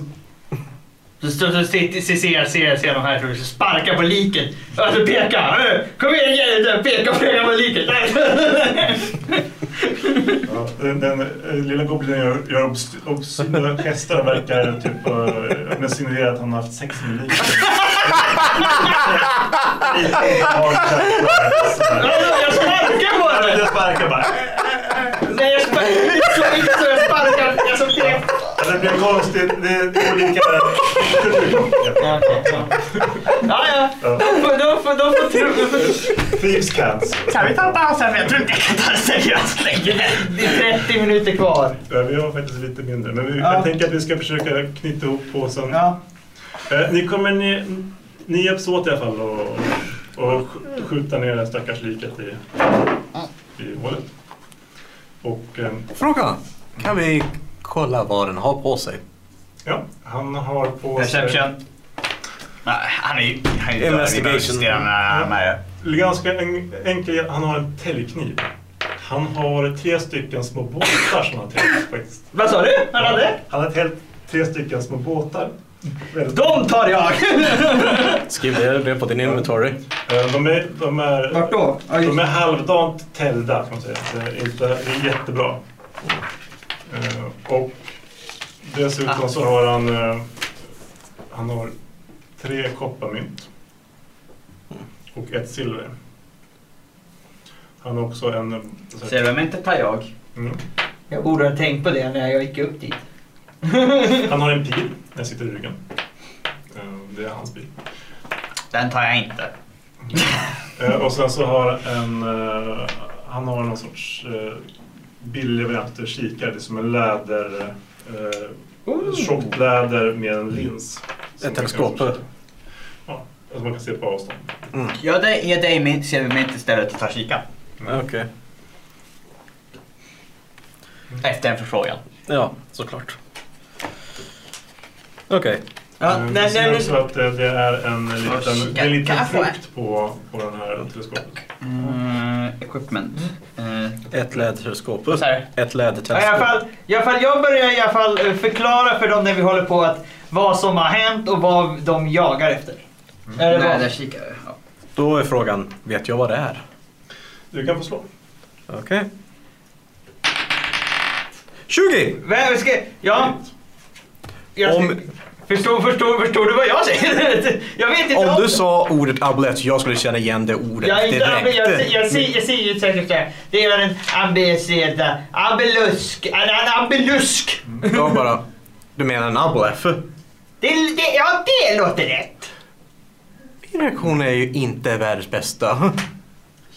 Speaker 3: så, så, så, sitter- så ser jag, ser jag, ser jag de här så sparkar på liket. Alltså peka! Kom igen Jerry! Peka, peka på liket!
Speaker 2: Ja, den, den eh, lilla goblinen gör, gör obs- obscena gester och verkar typ eh, men signalera att han har haft sex med livet.
Speaker 3: Jag sparkar på honom!
Speaker 2: Jag sparkar bara.
Speaker 3: Nej, jag sparkar inte så, inte så jag sparkar. Jag som blev...
Speaker 2: Ja, Det blir konstigt. Det är olika...
Speaker 3: Ja, ja.
Speaker 2: Ja.
Speaker 3: De får, de får, de får tro...
Speaker 2: Thieves cans.
Speaker 6: Kan vi ta en paus här för jag tror inte jag kan ta det seriöst längre.
Speaker 3: Det är 30 minuter kvar.
Speaker 2: Ja, Vi har faktiskt lite mindre, men vi,
Speaker 3: Ja.
Speaker 2: jag tänker att vi ska försöka knyta ihop påsen.
Speaker 3: Ja.
Speaker 2: Eh, ni kommer... Ni, ni hjälps åt i alla fall och, och sk- skjuta ner det här stackars liket i, i hålet. Och... ehm,
Speaker 4: frågan. Kan vi kolla vad den har på sig?
Speaker 2: Ja, han har på
Speaker 6: Perception. Nej, han är ju han är ju död. Vi
Speaker 4: Investigation.
Speaker 6: behöver justera med- med-
Speaker 2: Ganska en, enkel. Han har en täljkniv. Han har tre stycken små båtar som han täljt faktiskt.
Speaker 3: Vad sa du? Han hade?
Speaker 2: Han har täljt tre stycken små båtar. Väldigt-
Speaker 3: De tar jag!
Speaker 4: Skriv ner det på din inventory.
Speaker 2: Eh, De är, de är,
Speaker 3: då? Ja,
Speaker 2: de
Speaker 3: just-
Speaker 2: är halvdant täljda kan man säga. Det är, inte, det är jättebra. Eh, Och dessutom så har han, eh, han har tre kopparmynt. Och ett silver. Han har också en... eh, så här-
Speaker 6: Ser du vem inte tar jag?
Speaker 2: Mm.
Speaker 3: Jag borde ha tänkt på det när jag gick upp dit.
Speaker 2: Han har en pil. Den sitter i ryggen. Eh, Det är hans pil.
Speaker 6: Den tar jag inte.
Speaker 2: Eh, Och sen så har en, eh, han har någon sorts eh, billig variant av kikare. Det är som en läder, eh, tjockt läder med en lins. Som man kan
Speaker 4: teleskop.
Speaker 2: se- Ja, som man kan se på avstånd.
Speaker 4: Mm.
Speaker 6: Jag det- ger dig min, ser vi mig inte istället att ta kika.
Speaker 4: Okej.
Speaker 6: Efter en förfrågan.
Speaker 4: Ja, såklart. Okej.
Speaker 3: Ja,
Speaker 2: Eh,
Speaker 3: nej,
Speaker 2: det
Speaker 3: nej,
Speaker 2: ser
Speaker 3: men-
Speaker 2: ut så att det, det är en liten, det är en
Speaker 9: kan
Speaker 2: liten
Speaker 9: jag få en?
Speaker 2: frukt på, på den här teleskopet.
Speaker 6: Mm,
Speaker 9: Eh, equipment. Eh,
Speaker 4: Ett läderskåp.
Speaker 9: vad sa du?
Speaker 4: Ett
Speaker 3: Ja, I alla
Speaker 4: läderteleskop.
Speaker 3: fall, i alla fall, jag börjar i alla fall eh, förklara för dem när vi håller på att vad som har hänt och vad de jagar efter. Eller vad-
Speaker 9: Läderkikare. Ja.
Speaker 4: Då är frågan, vet jag vad det är?
Speaker 2: Du kan få slå.
Speaker 4: Okej. 20!
Speaker 3: Vem ska... Ja. Jag ska,
Speaker 4: Om-
Speaker 3: förstår, förstår, förstår du vad jag säger? jag vet inte
Speaker 4: Om du sa ordet ablett, jag skulle känna igen det ordet
Speaker 3: jag, är inte ambi, jag, jag,
Speaker 4: direkt.
Speaker 3: jag, ser- jag ser ju säkert såhär. Det är en ambiceda. Ambelusk. En, en ambelusk.
Speaker 4: Jag bara, du menar en ablett?
Speaker 3: Det, det, ja, det låter rätt.
Speaker 4: Min reaktion är ju inte världens bästa.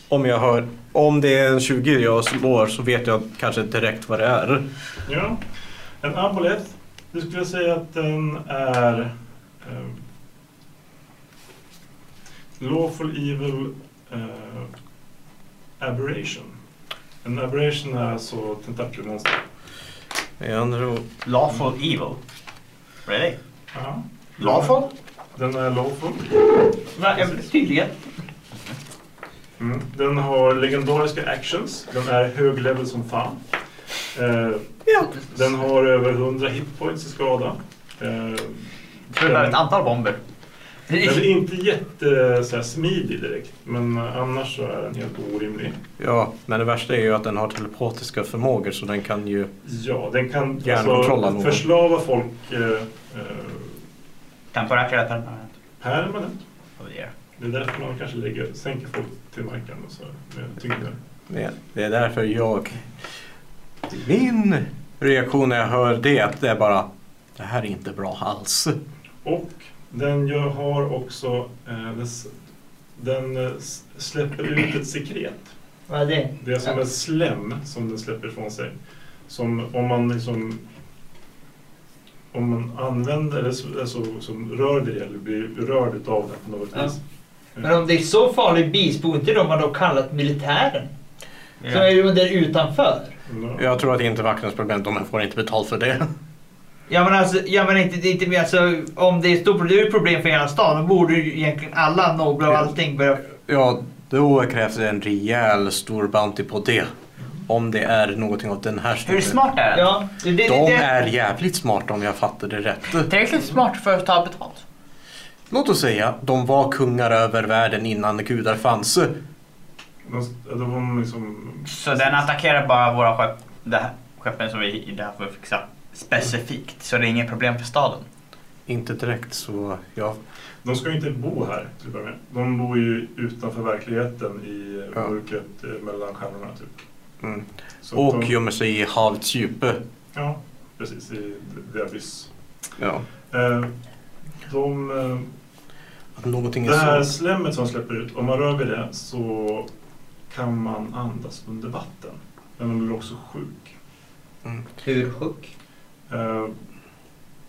Speaker 4: Om jag hör, om det är en 20 jag slår så vet jag kanske direkt vad det är.
Speaker 2: Ja. En aboleth. Du skulle säga att den är... Eh, lawful evil eh, aberration. En aberration är alltså tentakelmonster.
Speaker 4: Jag undrar-
Speaker 6: Lawful evil. Really?
Speaker 2: Ja.
Speaker 6: Lawful?
Speaker 2: Den är lawful.
Speaker 3: Va, ja, tydligen.
Speaker 2: Mm. Den har legendariska actions. Den är hög level som fan. Eh, Den har över 100 hitpoints i skada. Eh,
Speaker 6: Rullar ett antal bomber.
Speaker 2: Den är inte jätte så här, smidig direkt, men eh, annars så är den helt orimlig.
Speaker 4: Ja, men det värsta är ju att den har telepatiska förmågor så den kan ju...
Speaker 2: Ja, den kan
Speaker 4: Hjärnkontroll av
Speaker 2: alltså,
Speaker 4: någon.
Speaker 2: förslava folk eh, eh,
Speaker 6: Temporärt eller permanent?
Speaker 2: permanent.
Speaker 6: Oh dear.
Speaker 2: Det är därför man kanske lägger, sänker folk till marken och så, med tyngder.
Speaker 4: Ja, Det är därför jag... Min reaktion när jag hör det, att det är bara... Det här är inte bra alls.
Speaker 2: Och den gör, har också, eh, dess, den eh, s- släpper ut ett sekret.
Speaker 3: Vad är det?
Speaker 2: Det är som en slem som den släpper ifrån sig. Som om man liksom om man använder eller så, alltså, som rör det eller blir rörd utav det på något
Speaker 3: Ja.
Speaker 2: vis. Eh,
Speaker 3: Men om det är så farlig bis, borde inte de ha då kallat militären?
Speaker 6: Ja.
Speaker 3: Som är ju där utanför.
Speaker 2: Ja.
Speaker 4: Jag tror att det är inte är vakternas problem, de får inte betalt för det.
Speaker 3: Ja men alltså, ja, men inte, det är inte mer alltså, om det är ett stort problem- det är ett problem för hela stan, då borde ju egentligen alla nobla och allting börja...
Speaker 4: Ja, då krävs det en rejäl stor bounty på det. Om det är någonting av den här
Speaker 6: Hur smart är den?
Speaker 3: Ja, det, det,
Speaker 4: De
Speaker 3: det,
Speaker 4: är jävligt smarta om jag fattar det rätt.
Speaker 9: Tillräckligt smart för att ta betalt.
Speaker 4: Låt oss säga, de var kungar över världen innan gudar fanns.
Speaker 2: De, de, de liksom,
Speaker 6: Så den attackerar bara våra skepp, det här, skeppen som vi i det här får fixa specifikt. Så det är inget problem för staden.
Speaker 4: Inte direkt så, ja.
Speaker 2: de ska ju inte bo här till att börja med. De bor ju utanför verkligheten i
Speaker 4: Ja.
Speaker 2: mörkret eh, mellan stjärnorna. Typ.
Speaker 4: Mm.
Speaker 2: Så att
Speaker 4: Och
Speaker 2: de,
Speaker 4: gömmer sig i havets djup.
Speaker 2: Ja, precis. I The Abyss.
Speaker 4: Ja.
Speaker 2: Eh, de, eh,
Speaker 4: Att någonting
Speaker 2: Det här
Speaker 4: är så.
Speaker 2: slemmet som släpper ut, om man rör vid det så kan man andas under vatten. Men man blir också sjuk.
Speaker 4: Mm.
Speaker 9: Hur sjuk?
Speaker 2: Eh,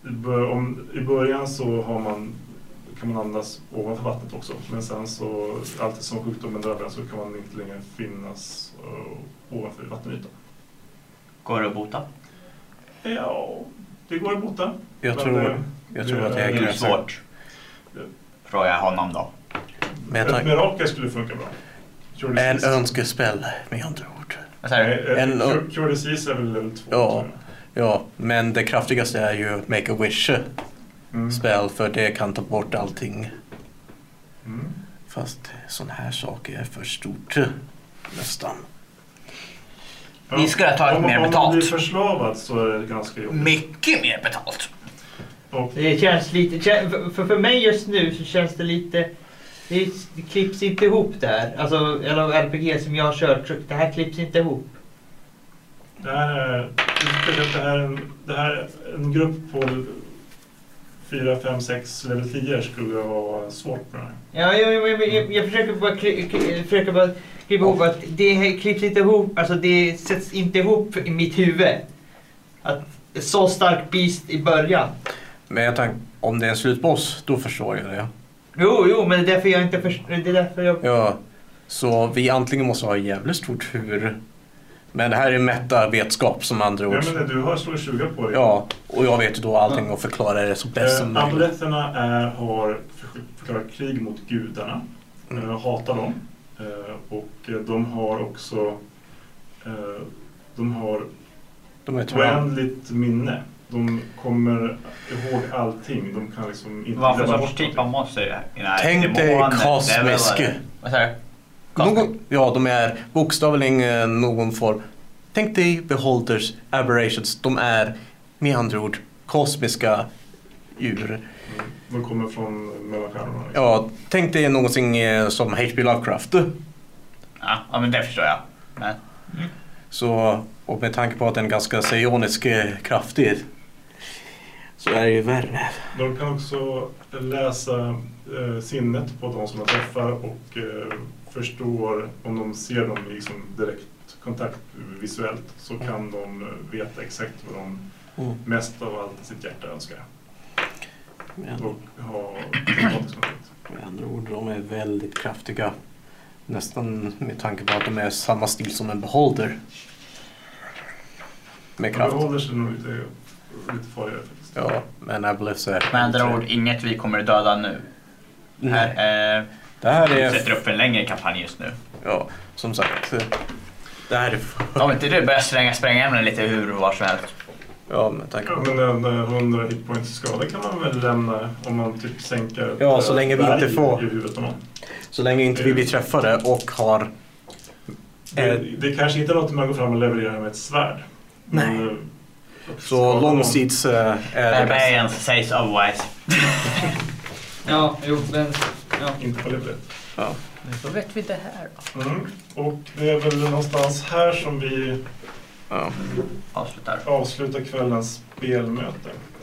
Speaker 2: i bör- om, I början så har man, kan man andas ovanför vattnet också. Men sen så, alltid som sjukdomen drabbar en så kan man inte längre finnas eh, ovanför vattenytan.
Speaker 6: Går det att bota?
Speaker 2: Ja, det går att bota.
Speaker 4: Jag
Speaker 2: Men,
Speaker 4: tror,
Speaker 2: eh,
Speaker 4: jag tror
Speaker 2: det-
Speaker 4: att
Speaker 2: det
Speaker 4: jag
Speaker 2: är
Speaker 4: är
Speaker 6: Hur
Speaker 4: gräsare.
Speaker 6: svårt? Frågar jag honom då.
Speaker 4: Men jag
Speaker 2: Ett
Speaker 4: tar-
Speaker 2: mirakel skulle funka bra. Cure
Speaker 4: En
Speaker 2: disease.
Speaker 4: önskespel med andra ord.
Speaker 6: Vad säger du?
Speaker 2: Eh, eh,
Speaker 4: en-
Speaker 2: cure- Cure disease är väl level 2?
Speaker 4: Ja. Ja, men det kraftigaste är ju make a wish spel för det kan ta bort allting.
Speaker 2: Mm.
Speaker 4: Fast sån här saker är för stort. Nästan.
Speaker 2: Ja.
Speaker 9: Ni skulle ha tagit
Speaker 2: om,
Speaker 9: mer
Speaker 2: Om man
Speaker 9: betalt.
Speaker 2: blir förslavad så är det ganska jobbigt.
Speaker 9: Mycket mer betalt.
Speaker 2: Och
Speaker 3: det känns lite... kä- för- För, för mig just nu så känns det lite... Det, det klipps inte ihop det här. Alltså, eller RPG som jag har kört, så det här klipps inte ihop.
Speaker 2: det här är, jag tycker att det här är en, det här är en grupp på 4, 5, 6, level 10 skulle vara svårt med det här.
Speaker 3: Ja, jag, jag, jag, jag, jag försöker bara, kli, kli, försöker bara klippa ihop att det här klipps inte ihop, alltså det sätts inte ihop i mitt huvud. Att så stark beast i början.
Speaker 4: Men jag tänkte, om det är en slutboss, då förstår jag det.
Speaker 3: Jo, jo, men det är därför jag inte förstår. Det är därför jag...
Speaker 4: Ja, så vi antingen måste ha jävligt stor tur Men det här är mätta vetskap som andra
Speaker 2: Ja,
Speaker 4: ord.
Speaker 2: men det, du har slagit 20 på dig.
Speaker 4: Ja, och jag vet ju då allting och förklarar det så bäst som
Speaker 2: Eh,
Speaker 4: möjligt.
Speaker 2: Amuletterna är, har för- förklarat krig mot gudarna, eh, hatar dem. Eh, och eh, de har också eh, de har
Speaker 4: De är tyvärr...
Speaker 2: oändligt minne. De kommer ihåg allting. De kan liksom inte
Speaker 6: Vad för
Speaker 2: glömma
Speaker 6: sorts
Speaker 2: bort
Speaker 6: typ
Speaker 2: någonting.
Speaker 6: av monster är det? Den här
Speaker 4: Tänk dig
Speaker 6: demonen,
Speaker 4: kosmisk...
Speaker 6: djävulen. Vad säger du?
Speaker 4: Någon, ja, de är bokstavligen eh, någon form. Tänk dig beholders, aberrations. De är med andra ord kosmiska djur.
Speaker 2: De kommer från mellanstjärnorna. liksom.
Speaker 4: Ja, tänk dig någonting eh, som H.P. Lovecraft.
Speaker 6: Ja, ja, men det förstår jag. Men,
Speaker 4: Så, och med tanke på att den är ganska psionisk eh, kraftig så är det ju värre.
Speaker 2: De kan också läsa eh, sinnet på de som de träffar och eh, förstår om de ser dem i liksom direkt kontakt visuellt så kan de eh, veta exakt vad de
Speaker 4: Mm.
Speaker 2: mest av allt i sitt hjärta önskar.
Speaker 4: Med,
Speaker 2: Och ha telepatisk kontakt.
Speaker 4: med andra ord, de är väldigt kraftiga. Nästan med tanke på att de är samma stil som en beholder. Med
Speaker 2: De
Speaker 4: kraft.
Speaker 2: behåller sig nog lite, lite farligare faktiskt.
Speaker 4: Ja, men Aboleths är...
Speaker 6: med andra ord, inget vi kommer döda nu.
Speaker 4: Nej.
Speaker 6: Här, eh,
Speaker 4: Det här
Speaker 6: vi
Speaker 4: är...
Speaker 6: sätter upp en längre kampanj just nu.
Speaker 4: Ja, som sagt. eh, Det här är...
Speaker 6: Om inte du börjar slänga sprängämnen lite hur och var som helst.
Speaker 4: Ja, med tanke
Speaker 2: Ja,
Speaker 4: på...
Speaker 2: men en eh, 100 hitpoints i skada kan man väl lämna om man typ sänker ett,
Speaker 4: Ja, så
Speaker 2: eh,
Speaker 4: länge vi inte
Speaker 2: berg
Speaker 4: får.
Speaker 2: i huvudet på någon.
Speaker 4: Så länge inte vi blir träffade och har...
Speaker 2: Det,
Speaker 4: Eh.
Speaker 2: det kanske inte är något man går fram och levererar med ett svärd.
Speaker 4: Nej.
Speaker 2: Men, eh, att skada
Speaker 4: Så
Speaker 2: någon-
Speaker 4: långsids eh, är det bästa.
Speaker 6: Barbarians says otherwise.
Speaker 3: Ja, jo, men... Ja.
Speaker 2: Inte på livet.
Speaker 6: Då vet vi det här då.
Speaker 2: Mm. Och det är väl någonstans här som vi
Speaker 4: Ja.
Speaker 6: Avslutar.
Speaker 2: avslutar kvällens spelmöte.